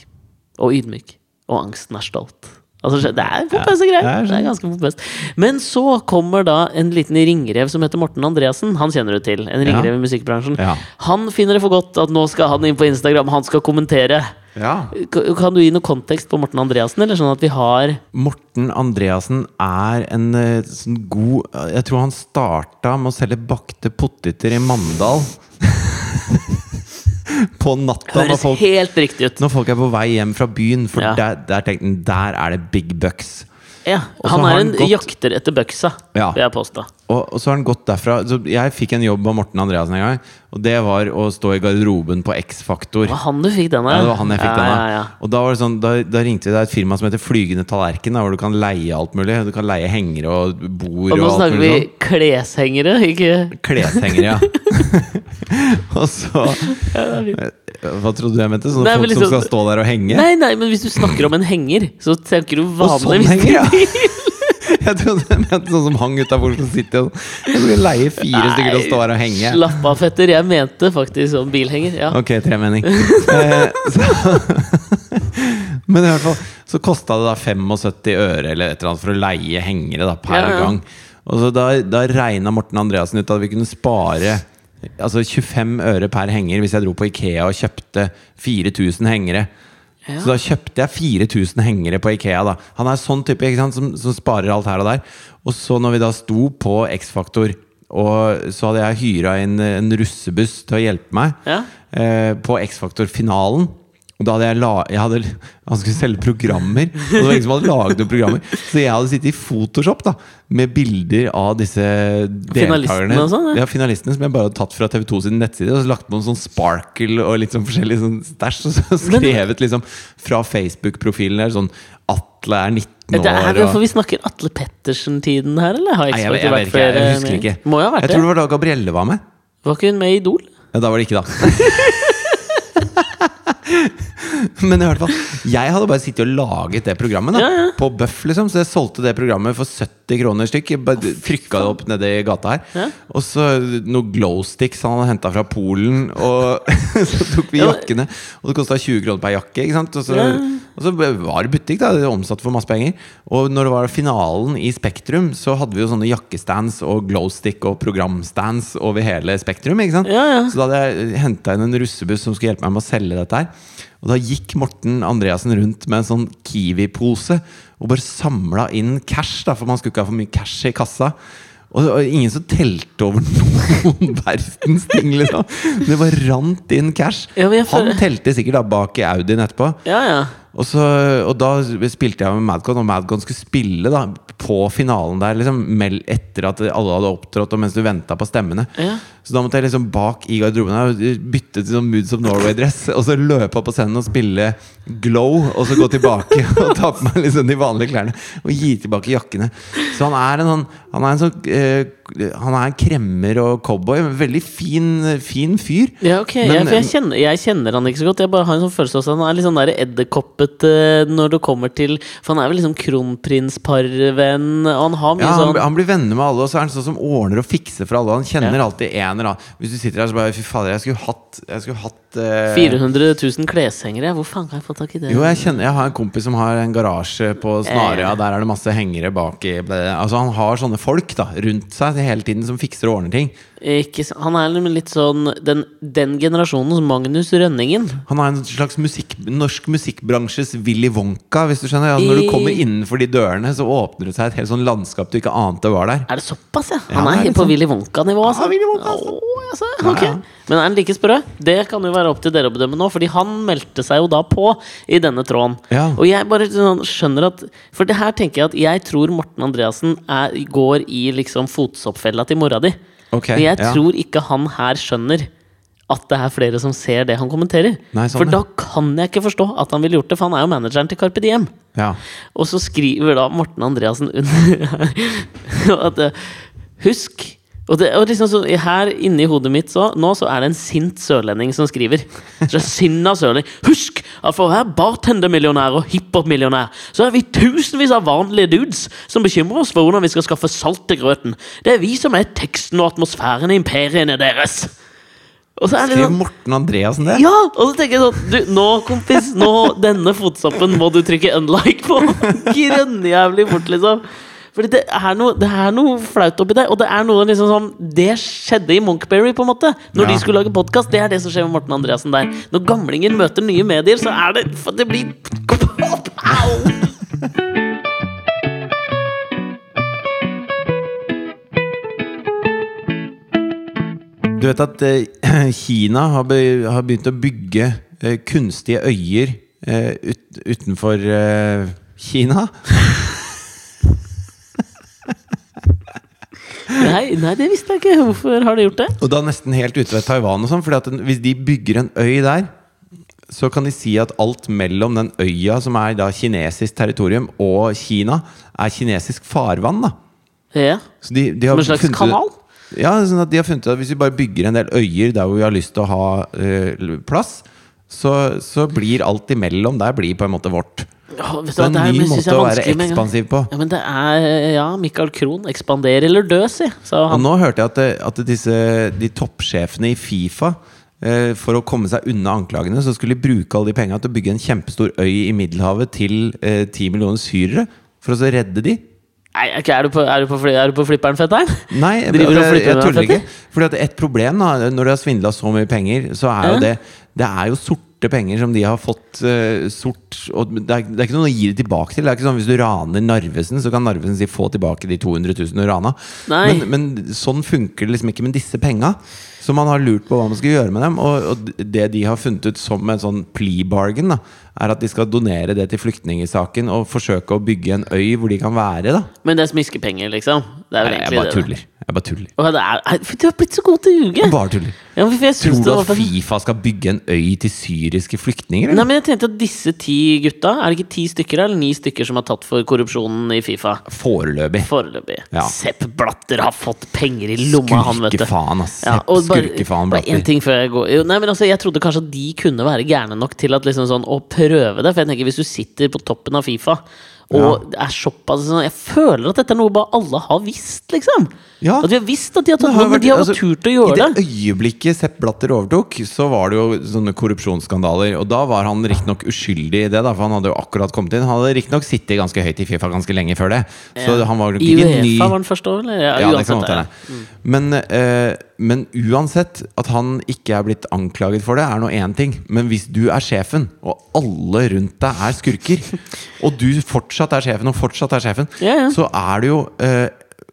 A: og ydmyk, og angsten er stolt. Altså, skjø- det er pompøse
B: Ja,
A: greier.
B: det er
A: Det er ganske pompøst. Men så kommer da en liten ringrev som heter Morten Andreassen. Han kjenner du til. En ringrev i musikkbransjen.
B: Ja.
A: Han finner det for godt at nå skal han inn på Instagram, han skal kommentere.
B: Ja.
A: K- Kan du gi noe kontekst på Morten Andreassen, eller sånn at vi har
B: Morten Andreassen er en eh, sånn god Jeg tror han starta med å selge bakte poteter i Mandal. (laughs) på natta, når
A: Høres
B: folk,
A: helt riktig ut.
B: når folk er på vei hjem fra byen. For
A: Ja.
B: der, der tenkte han der er det big bucks.
A: Ja,
B: Og så
A: han
B: har
A: er
B: han
A: en
B: gått-
A: jakter etter bøksa,
B: Ja.
A: vil jeg påstå.
B: Og, og så har han gått derfra så Jeg fikk en jobb av Morten Andreassen en gang. Og det var å stå i garderoben på X-Faktor.
A: Det var han du fikk den av?
B: Ja, det var han jeg fikk den av.
A: Ja, ja,
B: Og da, var det sånn, da, da ringte det et firma som heter Flygende tallerken, da, hvor du kan leie alt mulig. Du kan leie hengere og bord
A: ja. Og nå
B: alt
A: snakker vi
B: mulig sånn.
A: kleshengere, ikke
B: Kleshengere, ja. (laughs) og så
A: ja, det er fint.
B: Hva trodde du jeg mente? Sånne
A: Nei, men
B: folk
A: liksom-
B: som skal stå der og henge?
A: Nei, nei, men hvis du snakker om en henger, så tenker du
B: Og sånn
A: vanligvis
B: henger, (laughs) ja! (laughs) Jeg trodde jeg mente sånn som hang utafor Oslo City. og sånn. Jeg skulle leie fire stykker til å stå her og henge.
A: Slapp av, fetter. Jeg mente faktisk om bilhenger. Ja.
B: Ok, tremenning. Eh, så- (laughs) Men i hvert fall så kosta det da 75 øre eller et eller annet for å leie hengere da, per
A: Ja, ja.
B: gang. Og så da, da regna Morten Andreassen ut at vi kunne spare altså 25 øre per henger hvis jeg dro på Ikea og kjøpte 4000 hengere. Så da kjøpte jeg 4000 hengere på Ikea. da Han er sånn type ikke sant, som, som sparer alt her og der. Og så når vi da sto på X-Faktor, og så hadde jeg hyra inn en russebuss til å hjelpe meg
A: Ja.
B: eh, på X-Faktor-finalen. Og da hadde jeg, la, jeg hadde, Han skulle selge programmer, og det var ingen som hadde laget noen programmer. Så jeg hadde sittet i Photoshop da med bilder av disse deltakerne.
A: Finalistene og sånn, ja.
B: ja. finalistene Som jeg bare hadde tatt fra TV2 sin nettside. Og så lagt på en sånn sparkle og litt sånn forskjellig sånn stæsj. Og så (laughs) skrevet liksom fra Facebook-profilen der sånn Atle er 19 år.
A: Det er
B: og-
A: derfor vi snakker Atle Pettersen-tiden her, eller? Har
B: Nei, jeg,
A: X-Factor
B: jeg, jeg vet
A: vært
B: ikke, jeg,
A: flere
B: husker
A: med?
B: ikke.
A: Må jo ha
B: jeg
A: vært
B: tror
A: det.
B: det var da Gabrielle var med.
A: Var ikke hun med i Idol?
B: Ja, da var det ikke, da. (laughs) Men i hvert fall, jeg hadde bare sittet og laget det programmet. da
A: Ja, ja.
B: På Bøff, liksom. Så jeg solgte det programmet for 70 kroner stykk. Jeg bare Trykka det opp nede i gata her.
A: Ja.
B: Og så noen glowsticks han hadde henta fra Polen. Og (laughs) så tok vi
A: Ja,
B: jakkene, og det kosta 20 kroner per jakke. Ikke sant? Og, så,
A: Ja.
B: og så var det butikk, da. Det omsatte for masse penger. Og når det var finalen i Spektrum, så hadde vi jo sånne jakkestands og glowstick og programstands over hele Spektrum. Ikke sant?
A: Ja, ja.
B: Så da hadde jeg henta inn en russebuss som skulle hjelpe meg med å selge dette her. Og da gikk Morten Andreassen rundt med en sånn Kiwi-pose og bare samla inn cash, da, for man skulle ikke ha for mye cash i kassa. Og det var ingen som telte over (laughs) noen verdens ting, liksom. Det bare rant inn cash.
A: Ja, men jeg
B: Han
A: føler-
B: telte sikkert da bak i Audien etterpå.
A: Ja, ja.
B: Og, så, og da spilte jeg med Madcon, og Madcon skulle spille da på finalen der. Liksom, mel- etter at alle hadde opptrådt, og mens du venta på stemmene.
A: Ja.
B: Så da måtte jeg liksom bak i garderoben her og bytte til sånn Moods of Norway-dress. Og så løpe opp på scenen og spille Glow, og så gå tilbake (laughs) og ta på meg liksom de vanlige klærne. Og gi tilbake jakkene. Så han er en sånn Han er en, sånn, eh, han er en kremmer og cowboy. En veldig fin, fin fyr.
A: Ja, ok,
B: Men-
A: ja, for jeg, kjenner, jeg kjenner han ikke så godt. Jeg bare har en sånn følelse av at han er litt sånn der edderkoppete når det kommer til For han er vel liksom kronprinsparvenn, og han har mye
B: Ja, han,
A: sånn
B: han blir venner med alle, og så er han sånn som ordner og fikser for alle. Han kjenner
A: Ja.
B: alltid en eller annen. Hvis du sitter her så bare Fy fader, jeg skulle hatt, jeg skulle hatt eh,
A: 400 000 kleshengere. Hvor faen kan jeg få tak i det?
B: Jo, jeg kjenner Jeg har en kompis som har en garasje på Snarøya.
A: Ja.
B: Der er det masse hengere bak i Altså, han har sånne folk da rundt seg hele tiden som fikser og ordner ting.
A: Ikke, s- han er nemlig litt sånn den, den generasjonens Magnus Rønningen.
B: Han er en slags musikk, norsk musikkbransjes Willy Wonka, hvis du skjønner. Ja,
A: I-
B: når du kommer innenfor de dørene, så åpner det seg et helt sånn landskap du ikke ante var der.
A: Er det såpass, ja?
B: Ja,
A: Han
B: han
A: er
B: er
A: helt
B: litt
A: på
B: sånn-
A: Willy Wonka-nivå, altså?
B: Ja, Willy Wonka, altså.
A: Åh, altså,
B: Ja,
A: ok.
B: ja.
A: Men er han like sprø? Det kan jo være opp til dere å bedømme nå, Fordi han meldte seg jo da på i denne tråden.
B: Ja.
A: Og jeg bare sånn skjønner at For det her tenker jeg at jeg tror Morten Andreassen er, går i liksom fotsoppfella til mora di.
B: Ok,
A: Men jeg
B: ja.
A: tror ikke han her skjønner at det er flere som ser det han kommenterer.
B: Nei, sånn,
A: for
B: ja.
A: da kan jeg ikke forstå at han ville gjort det, for han er jo manageren til Carpe Diem.
B: Ja.
A: Og så skriver da Morten Andreassen under (laughs) her at eh, Husk og, det, og liksom så, her inne i hodet mitt så, nå så er det en sint sørlending som skriver. Så sinna sørlending. Husk at for hver bartendermillionær og hiphopmillionær, så er vi tusenvis av vanlige dudes som bekymrer oss for hvordan vi skal skaffe salt til grøten. Det er vi som er teksten og atmosfæren i imperiene deres. Og så er det
B: Skriver
A: sånn
B: Morten Andreassen det?
A: ja! Og så tenker jeg sånn du, Nå, kompis, nå denne fotsoppen må du trykke unlike på. (laughs) Grønnjævlig fort, liksom. Fordi det er, noe, det er noe flaut oppi det. Og det er noe liksom sånn Det skjedde i Monkberry, på en måte. Når
B: Ja.
A: de skulle lage podkast. Det er det som skjer med Morten Andreassen der. Når gamlinger møter nye medier, så er det for Det blir (laughs) Au!
B: Du vet at eh, (clears throat) Kina har, be, har begynt å bygge eh, kunstige øyer eh, ut, utenfor eh, Kina.
A: Nei, nei, det visste jeg ikke. Hvorfor har de gjort det?
B: Og da nesten helt ute ved Taiwan og sånn, fordi at den- hvis de bygger en øy der, så kan de si at alt mellom den øya, som er da kinesisk territorium, og Kina, er kinesisk farvann, da.
A: Ja.
B: Så de, de har
A: Som en slags
B: funnet ut-
A: kanal?
B: Ja, sånn at de har funnet ut at hvis vi bare bygger en del øyer der hvor vi har lyst til å ha eh, l- plass, så, så blir alt imellom der blir på en måte vårt.
A: Åh, vet du
B: Så
A: hva,
B: en
A: det her
B: ny
A: synes
B: måte
A: jeg er
B: å være
A: vanskelig med en gang.
B: ekspansiv på.
A: Ja, men det er Ja, Michael Krohn. Ekspander eller dø, si, sa
B: Og
A: han.
B: nå hørte jeg at, det- at disse, de toppsjefene i Fifa eh, for å komme seg unna anklagene, så skulle de bruke alle de penga til å bygge en kjempestor øy i Middelhavet til eh, ti millioner syrere. For å så redde de.
A: Nei, ok, er, du på, er, du på, fli- er du på flipperen, fetter'n?
B: Nei, jeg,
A: Driver du og
B: jeg,
A: flytter
B: jeg
A: deg,
B: tuller
A: Petter?
B: ikke. Fordi at et problem da når de har svindla så mye penger, så er jo
A: Ja.
B: det Det er jo sorte penger som de har fått eh, sort og det, er, det er ikke noe å gi det tilbake til. Det er ikke sånn Hvis du raner Narvesen, så kan Narvesen si 'få tilbake de 200 000 du rana'.
A: Nei.
B: Men, men sånn funker det liksom ikke med disse penga. Så man har lurt på hva man skal gjøre med dem. Og, og det de har funnet ut som en sånn plea bargain, da, er at de skal donere det til flyktningsaken og forsøke å bygge en øy hvor de kan være. da
A: Men det er smiskepenger, liksom. Det er vel
B: Nei, Jeg
A: egentlig
B: bare
A: det, da.
B: tuller. Jeg bare tuller.
A: Åh, det er, nei, for du har blitt så god til å ljuge!
B: Bare tuller.
A: Ja, men for jeg synes
B: Tror
A: det
B: du
A: var
B: at Fifa skal bygge en øy til syriske flyktninger?
A: Nei,
B: Eller?
A: men jeg tenkte at disse ti gutta Er det ikke ti stykker eller ni stykker som er tatt for korrupsjonen i Fifa?
B: Foreløpig.
A: Foreløpig.
B: Ja.
A: Sepp Blatter har fått penger i lomma, han, vet du.
B: Skurkefaen, ass.
A: Ja,
B: Sepp
A: og bare-
B: Skurkefaen
A: bare en
B: Blatter.
A: ting før jeg går jo, Nei, men altså, Jeg trodde kanskje at de kunne være gærne nok til at liksom sånn, å prøve det. For jeg tenker hvis du sitter på toppen av Fifa og er såpass sånn, Jeg føler at dette er noe bare alle har visst, liksom.
B: Ja.
A: At vi har visst at de har
B: Det
A: tatt
B: har
A: noe, men de har
B: vært-
A: bare
B: altså,
A: turt å gjøre
B: I
A: det.
B: det øyeblikket Sepp Blatter overtok, så var det jo sånne korrupsjonsskandaler. Og da var han riktignok uskyldig i det, da, for han hadde jo akkurat kommet inn. Han hadde riktignok sittet ganske høyt i Fifa ganske lenge før det. Så han var nok
A: I
B: ikke ny.
A: Uefa var den første år, eller? Ja,
B: Ja, det
A: uansett,
B: kan godt
A: ja.
B: hende. Men, eh, men uansett, at han ikke er blitt anklaget for det, er nå én ting. Men hvis du er sjefen, og alle rundt deg er skurker,
A: (laughs)
B: og du fortsatt er sjefen, og fortsatt er sjefen,
A: Ja, ja.
B: så er du jo eh,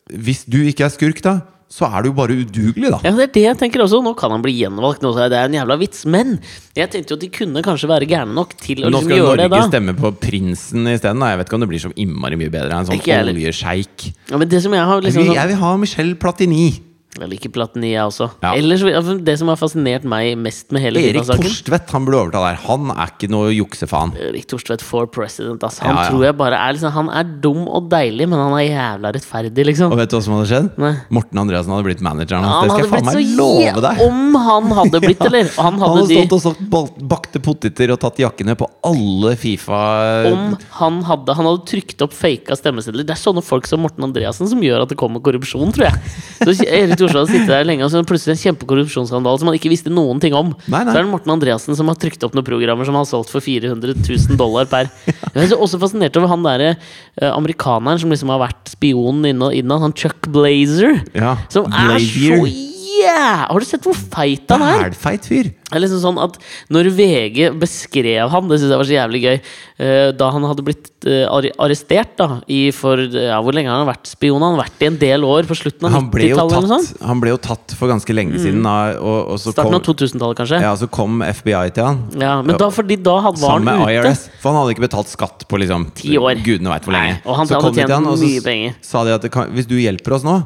B: Hvis du ikke er skurk, da, så er du jo bare udugelig, da.
A: Ja, det er det jeg tenker også. Nå kan han bli gjenvalgt. Nå, så er det er en jævla vits. Men jeg tenkte jo at de kunne kanskje være gærne nok til å
B: Nå
A: liksom
B: skal
A: gjøre
B: Norge
A: det da.
B: stemme på prinsen isteden. da. Jeg vet ikke om det blir så innmari mye bedre enn sånn
A: Ikke jeg heller.
B: oljesjeik.
A: Ja, men det som jeg har
B: Jeg
A: liksom
B: vil,
A: sånn
B: jeg vil ha Michel Platini.
A: Jeg liker Platini, jeg også.
B: Ja.
A: Ellers, ja, for det som har fascinert meg mest med hele
B: Erik
A: Fifa-saken
B: Torstvedt han burde overta der. Han er ikke noe juksefaen.
A: Erik Thorstvedt for president. ass. Han
B: Ja, ja.
A: tror jeg bare er liksom Han er dum og deilig, men han er jævla rettferdig, liksom.
B: Og vet du hva som hadde skjedd?
A: Nei.
B: Morten Andreasen hadde blitt manageren hans.
A: Han
B: Det
A: hadde
B: skal jeg faen
A: blitt så
B: meg love deg.
A: jæ- Om han hadde blitt, eller? Han
B: (laughs) Han
A: hadde
B: hadde
A: de
B: stått og solgt bal- bakte poteter og tatt jakkene på alle Fifa
A: om han hadde Han hadde trykt opp faka stemmesedler. Det er sånne folk som Morten Andreassen som gjør at det kommer korrupsjon, tror jeg. Så Erik Thorsvold hadde sittet der lenge, og så er det plutselig en kjempekorrupsjonsskandale som han ikke visste noen ting om.
B: Nei, nei.
A: Så er det Morten Andreassen som har trykt opp noen programmer som han har solgt for 400 000 dollar per. Jeg er så også fascinert over han derre eh, amerikaneren som liksom har vært spionen innan, innan han Chuck Blazer.
B: Ja,
A: Som er så
B: Blazer.
A: jæ- Har du sett hvor feit han er?
B: Hælfeit fyr.
A: Det er liksom sånn at Når VG beskrev ham, det syns jeg var så jævlig gøy, eh, da han hadde blitt eh, arre- arrestert da, i for ja, Hvor lenge har han vært spion? Han har vært i en del år, på slutten av
B: Han ble, jo
A: 90-tallet eller noe
B: tatt,
A: sånt? Mm.
B: han ble jo tatt for ganske lenge siden. da, Og, og så,
A: Starten
B: kom,
A: av 2000-tallet, kanskje? Ja,
B: ja, så kom FBI til han.
A: Men da, fordi da had- var
B: Sammen
A: han
B: med
A: ute.
B: IRS. For han hadde ikke betalt skatt på liksom
A: Ti år.
B: Gudene vet hvor
A: Nei,
B: lenge.
A: og han
B: så
A: hadde
B: kom de til
A: tjent
B: han, og så
A: mye penger. Mm.
B: sa de at det kan, hvis du hjelper oss nå,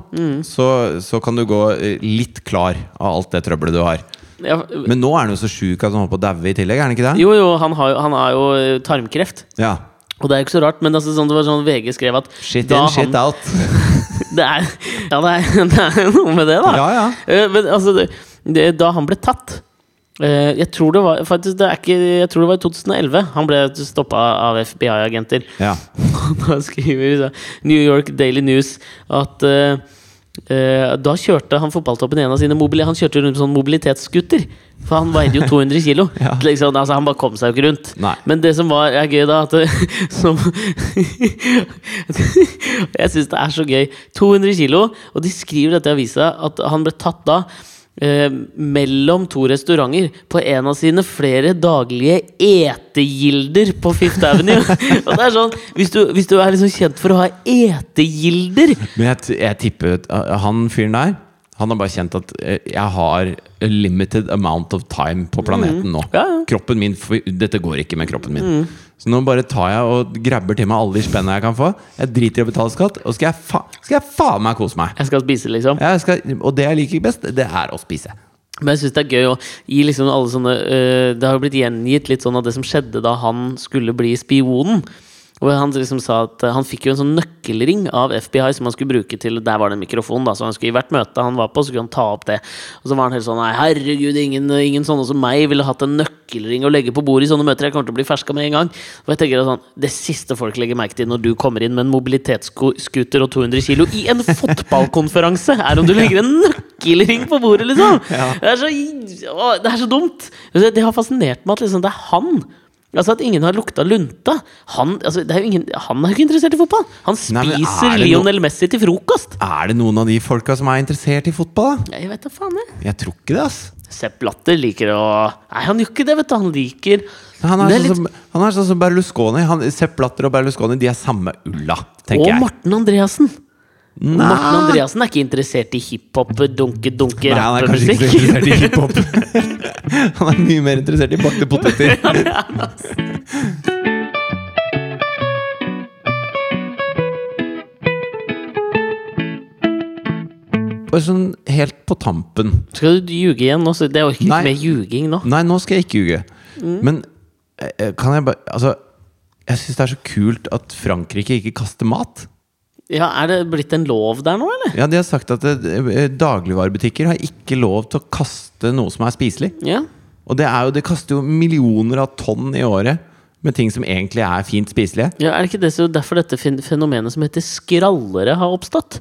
B: så, så kan du gå eh, litt klar av alt det trøbbelet du har.
A: Ja,
B: Men nå er han jo så sjuk at han holder på å daue i tillegg, er han ikke det?
A: jo, jo, han har jo, han har jo eh, tarmkreft.
B: Ja.
A: Og det er jo ikke så rart, men altså, sånn, det var sånn VG skrev at
B: Shit
A: da
B: in,
A: han-
B: shit
A: (laughs)
B: out.
A: det er, ja, det er, (laughs) det er noe med det, da.
B: Ja, ja.
A: Eh, Men altså, det, det, da han ble tatt eh, Jeg tror det var faktisk, det er ikke, Jeg tror det var i 2011 han ble stoppa av FBI-agenter.
B: Ja.
A: (laughs) Da skriver så, New York Daily News at eh, eh, da kjørte han fotballtoppen i en av sine mobili Han kjørte rundt på sånn mobilitetsskuter. For han veide jo
B: (laughs)
A: 200 kilo.
B: Ja.
A: liksom, altså, han bare kom seg jo ikke rundt.
B: Nei.
A: Men det som var er gøy, da at, (laughs) det- som, Jeg syns det er så gøy. 200 kilo, og de skriver dette i avisa at han ble tatt da. eh, mellom to restauranter på en av sine flere daglige etegilder på Fifth Avenue. (laughs) og det er sånn, hvis du, hvis du er liksom kjent for å ha etegilder
B: Men jeg, t- jeg tipper at uh, han fyren der han har bare kjent at eh, jeg har a limited amount of time på planeten nå.
A: Mhm. Ja, Mhm. ja.
B: Kroppen min, for- Dette går ikke med kroppen min. Så nå bare tar jeg og grabber til meg alle de spennene jeg kan få. Jeg driter i å betale skatt, og skal jeg, fa skal jeg faen meg kose meg.
A: Jeg skal spise, liksom.
B: Jeg skal, og det jeg liker best, det er å spise.
A: Men jeg syns det er gøy å gi liksom alle sånne øh, Det har jo blitt gjengitt litt sånn av det som skjedde da han skulle bli spionen. Hvor han liksom sa at øh, han fikk jo en sånn nøkkelring av FBI som han skulle bruke til Der var det en mikrofon, da, så han skulle i hvert møte han var på, så skulle han ta opp det. Og så var han helt sånn Nei, herregud, ingen, ingen sånne som meg ville hatt en nøkkelring å legge på bordet i sånne møter. Jeg kommer til å bli ferska med en gang. Og jeg tenker at sånn Det siste folk legger merke til når du kommer inn med en mobilitetsscooter og 200 kilo i en fotballkonferanse, er om
B: (laughs)
A: du legger en nøkkelring på bordet, liksom! Det, er så, å, det er så dumt! Altså, Det har fascinert meg at liksom, det er han. Altså At ingen har lukta lunta. Han, altså, det er jo ingen, han er jo ikke interessert i fotball! Han
B: Nei, men er
A: spiser
B: det no-
A: Lionel Messi til frokost!
B: Er det noen av de folka som er interessert i fotball, da?
A: Jeg vet da faen, jeg.
B: Jeg tror ikke det, ass.
A: Sepp Latter liker å Nei, han gjør ikke det, vet du. Han liker
B: Han
A: Det
B: er,
A: er
B: sånn,
A: litt-
B: som, han er sånn som Berlusconi. Han, Sepp Blatter og Berlusconi De er samme ulla, tenker
A: Og
B: jeg.
A: Morten Andreassen.
B: Nei.
A: Morten Andreassen er ikke interessert i hiphop, dunke, dunke,
B: Nei, han er kanskje ikke så
A: rappemusikk.
B: interessert i hiphop. (laughs) han er mye mer interessert i bakte poteter. Bare sånn helt på tampen.
A: (laughs) Skal du ljuge igjen nå? Så det orker ikke
B: Nei.
A: mer ljuging nå.
B: Nei, nå skal jeg ikke ljuge. Men eh, kan jeg bare Altså, jeg syns det er så kult at Frankrike ikke kaster mat.
A: Ja, Er det blitt en lov der nå, eller?
B: Ja, De har sagt at eh, dagligvarebutikker har ikke lov til å kaste noe som er spiselig.
A: Ja.
B: Og det, er jo, det kaster jo millioner av tonn i året med ting som egentlig er fint spiselige.
A: ja er det ikke det så derfor dette fen- fenomenet som heter skrallere, har oppstått?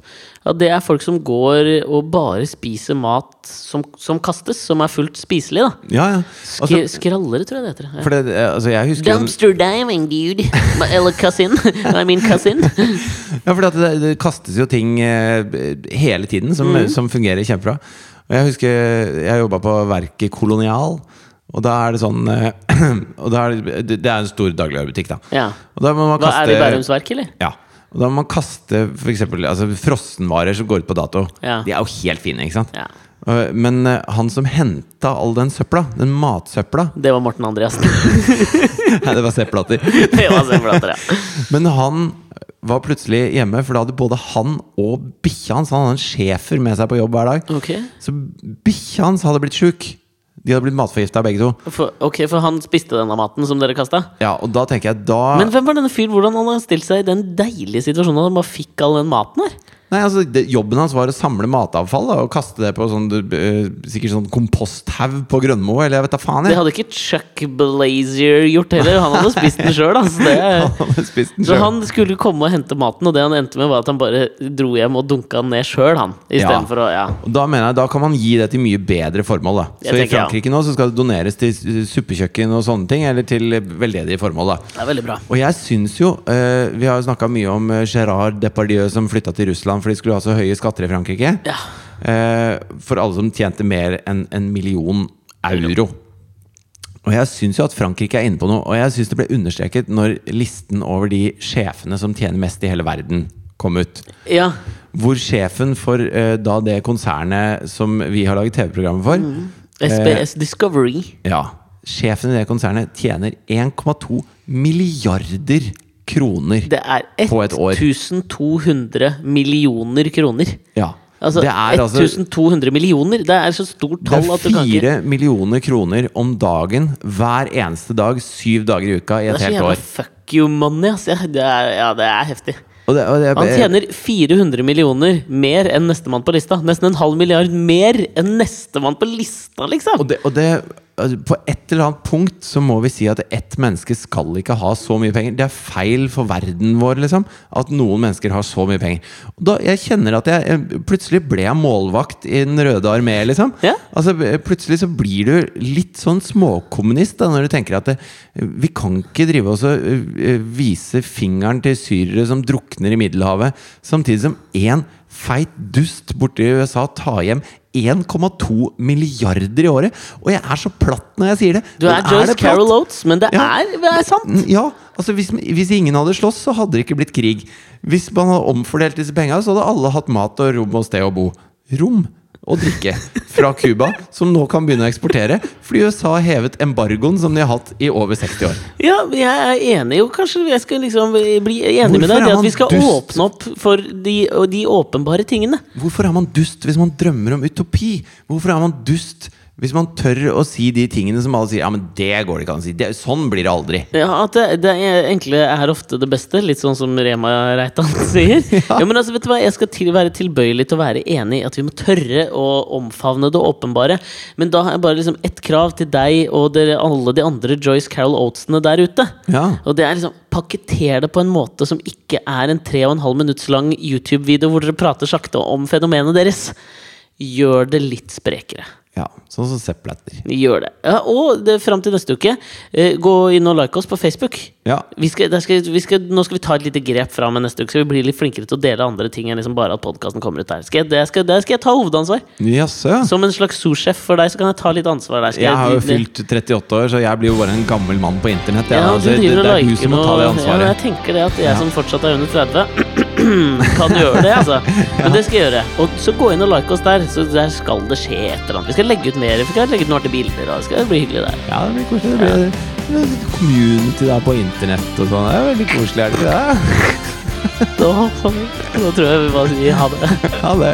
A: At det er folk som går og bare spiser mat som, som kastes, som er fullt spiselig, da.
B: Ja, ja.
A: Sk
B: Altså,
A: skrallere, tror jeg det heter. Ja.
B: for det, altså jeg husker jo-
A: Dumpster diving, dude. (laughs) Eller cousin. (laughs) I mean cousin.
B: Ja, for det, det kastes jo ting eh, hele tiden som, som fungerer kjempebra. Og jeg husker jeg jobba på verket Kolonial. Og da er det sånn eh, (clears throat) og da er det, det- det er en stor dagligvarebutikk, da.
A: Ja.
B: Og da må man
A: Hva
B: kaste,
A: Er det i Bærums Verk, eller?
B: Ja. Og da må man kaste for eksempel, altså, frossenvarer som går ut på dato.
A: Ja.
B: De er jo helt fine, ikke sant?
A: Ja.
B: Eh, Men eh, han som henta all den søpla, den matsøpla (laughs)
A: Det var Morten Andreassen. (laughs)
B: Nei, det var søppelplater.
A: det var Semmelatter, ja.
B: Men han var plutselig hjemme, for da hadde både han og bikkja hans Han hadde en schæfer med seg på jobb hver dag.
A: Ok.
B: Så bikkja hans hadde blitt sjuk. De hadde blitt matforgifta begge to.
A: For, ok, for han spiste denne maten som dere kasta?
B: Ja, og da tenker jeg da
A: Men hvem var denne fyren? Hvordan han hadde stilt seg i den deilige situasjonen at han bare fikk all den maten her?
B: Nei, altså det, Jobben hans var å samle matavfall da, og kaste det på sånn, eh, sikkert sånn komposthaug på Grønmo. Eller jeg vet da faen.
A: Det
B: Jeg.
A: hadde ikke Chuck Blazer gjort heller. Han hadde spist den sjøl. Altså,
B: Han
A: det-
B: hadde spist den
A: så
B: selv.
A: han skulle komme og hente maten, og det han endte med, var at han bare dro hjem og dunka den ned sjøl, han.
B: Ja.
A: Istedenfor å Ja.
B: Og Da mener jeg, da kan man gi det til mye bedre formål. da
A: Jeg
B: Så I
A: tenker, ja.
B: Frankrike nå så skal det doneres til eh, suppekjøkken og sånne ting, eller til eh, veldedige formål.
A: Det
B: da
A: er veldig bra.
B: Og jeg syns jo eh, Vi har jo snakka mye om eh, Gérard Depardieu som flytta til Russland, for de skulle ha så høye skatter i Frankrike.
A: Ja.
B: Eh, for alle som tjente mer enn en million euro. Og jeg syns jo at Frankrike er inne på noe, og jeg syns det ble understreket når listen over de sjefene som tjener mest i hele verden, kom ut.
A: ja.
B: Hvor sjefen for eh, da det konsernet som vi har laget TV-programmet for
A: Mm. SBS
B: Eh.
A: Discovery.
B: Ja, sjefen i det konsernet tjener 1,2 milliarder kroner.
A: Det er
B: På et år.
A: 1200 millioner kroner.
B: Ja.
A: Altså,
B: det er altså
A: 1200 millioner! Det er så stort
B: det
A: tall
B: er
A: at du kan ikke
B: fire millioner kroner om dagen hver eneste dag, syv dager i uka i et
A: Det er så
B: helt
A: jævla
B: år.
A: fuck you money, ass. Ja, det er, ja, det er heftig.
B: Og det, og det,
A: Han tjener 400 millioner mer enn nestemann på lista. Nesten en halv milliard mer enn nestemann på lista, liksom!
B: og det, og det altså, På et eller annet punkt så må vi si at ett menneske skal ikke ha så mye penger. Det er feil for verden vår, liksom. At noen mennesker har så mye penger. Og da, jeg kjenner at jeg jeg- Plutselig ble jeg målvakt i Den røde armé, liksom.
A: Ja.
B: Altså, plutselig så blir du litt sånn småkommunist da, når du tenker at det, vi kan ikke drive oss og øh, øh, vise fingeren til syrere som drukner i Middelhavet, samtidig som én feit dust borte i USA tar hjem 1,2 milliarder i året! Og jeg er så platt når jeg sier det!
A: Du er
B: men
A: Joyce
B: det platt?
A: Carol Oates, men det
B: Ja.
A: er, det er sant!
B: Mm, Ja, altså hvis, hvis ingen hadde slåss, så hadde det ikke blitt krig. Hvis man hadde omfordelt disse penga, så hadde alle hatt mat og rom og sted å bo. Rom? og drikke fra Cuba, som nå kan begynne å eksportere, fordi USA har hevet embargoen som de har hatt i over 60 år.
A: Ja, jeg er enig. Og kanskje jeg skal liksom bli enig med
B: Hvorfor
A: deg i
B: er
A: det
B: man
A: at vi skal
B: dust?
A: åpne opp for de, og de åpenbare tingene.
B: Hvorfor er man dust hvis man drømmer om utopi? Hvorfor er man dust hvis man tør å si de tingene som alle sier Ja, men det går det ikke an å si. Det, sånn blir det aldri.
A: Ja, At det, det er- enkle er ofte det beste, litt sånn som Rema Reitan (laughs) sier. ja. men altså, vet du hva, Jeg skal til, være tilbøyelig til å være enig i at vi må tørre å omfavne det åpenbare. Men da har jeg bare liksom ett krav til deg og dere, alle de andre Joyce Carol Oatesene der ute.
B: Ja.
A: Og det er liksom Pakketer det på en måte som ikke er en 3,5 minutts lang YouTube-video hvor dere prater sakte om fenomenet deres. Gjør det litt sprekere.
B: ja sånn som Sepp Blatter.
A: Gjør det. Ja, og det, fram til neste uke, eh, gå inn og like oss på Facebook.
B: Ja.
A: Vi skal, der skal, vi skal, nå skal vi ta et lite grep fra og med neste uke, så vi blir litt flinkere til å dele andre ting enn liksom bare at podkasten kommer ut der. Skal jeg, der, skal, der skal jeg ta hovedansvar.
B: Jaså?
A: Som en slags sous-sjef for deg, så kan jeg ta litt ansvar der. Skal
B: Jeg har jo
A: det-
B: fylt 38 år, så jeg blir jo bare en gammel mann på internett. jeg,
A: Ja,
B: altså,
A: du
B: det,
A: driver
B: det
A: og
B: er du
A: liker
B: som må ta
A: noe-
B: det
A: Ja, men
B: ansvaret.
A: jeg tenker det at jeg som fortsatt er under 30, (clears throat) kan gjøre det, altså. Men det skal jeg gjøre. Og så gå inn og like oss der, så der skal det skje et eller annet. Vi skal legge ut mer, vi skal legge ut noen artige bilder, og det skal bli hyggelig der.
B: Ja, det blir koselig. Det blir det blir community der på internett og sånn. Det er veldig koselig, er det ikke det? (laughs)
A: Nå, nå tror jeg vi bare sier ha det.
B: Ha det.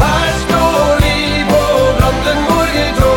C: Her står vi på Brandenburger Tor.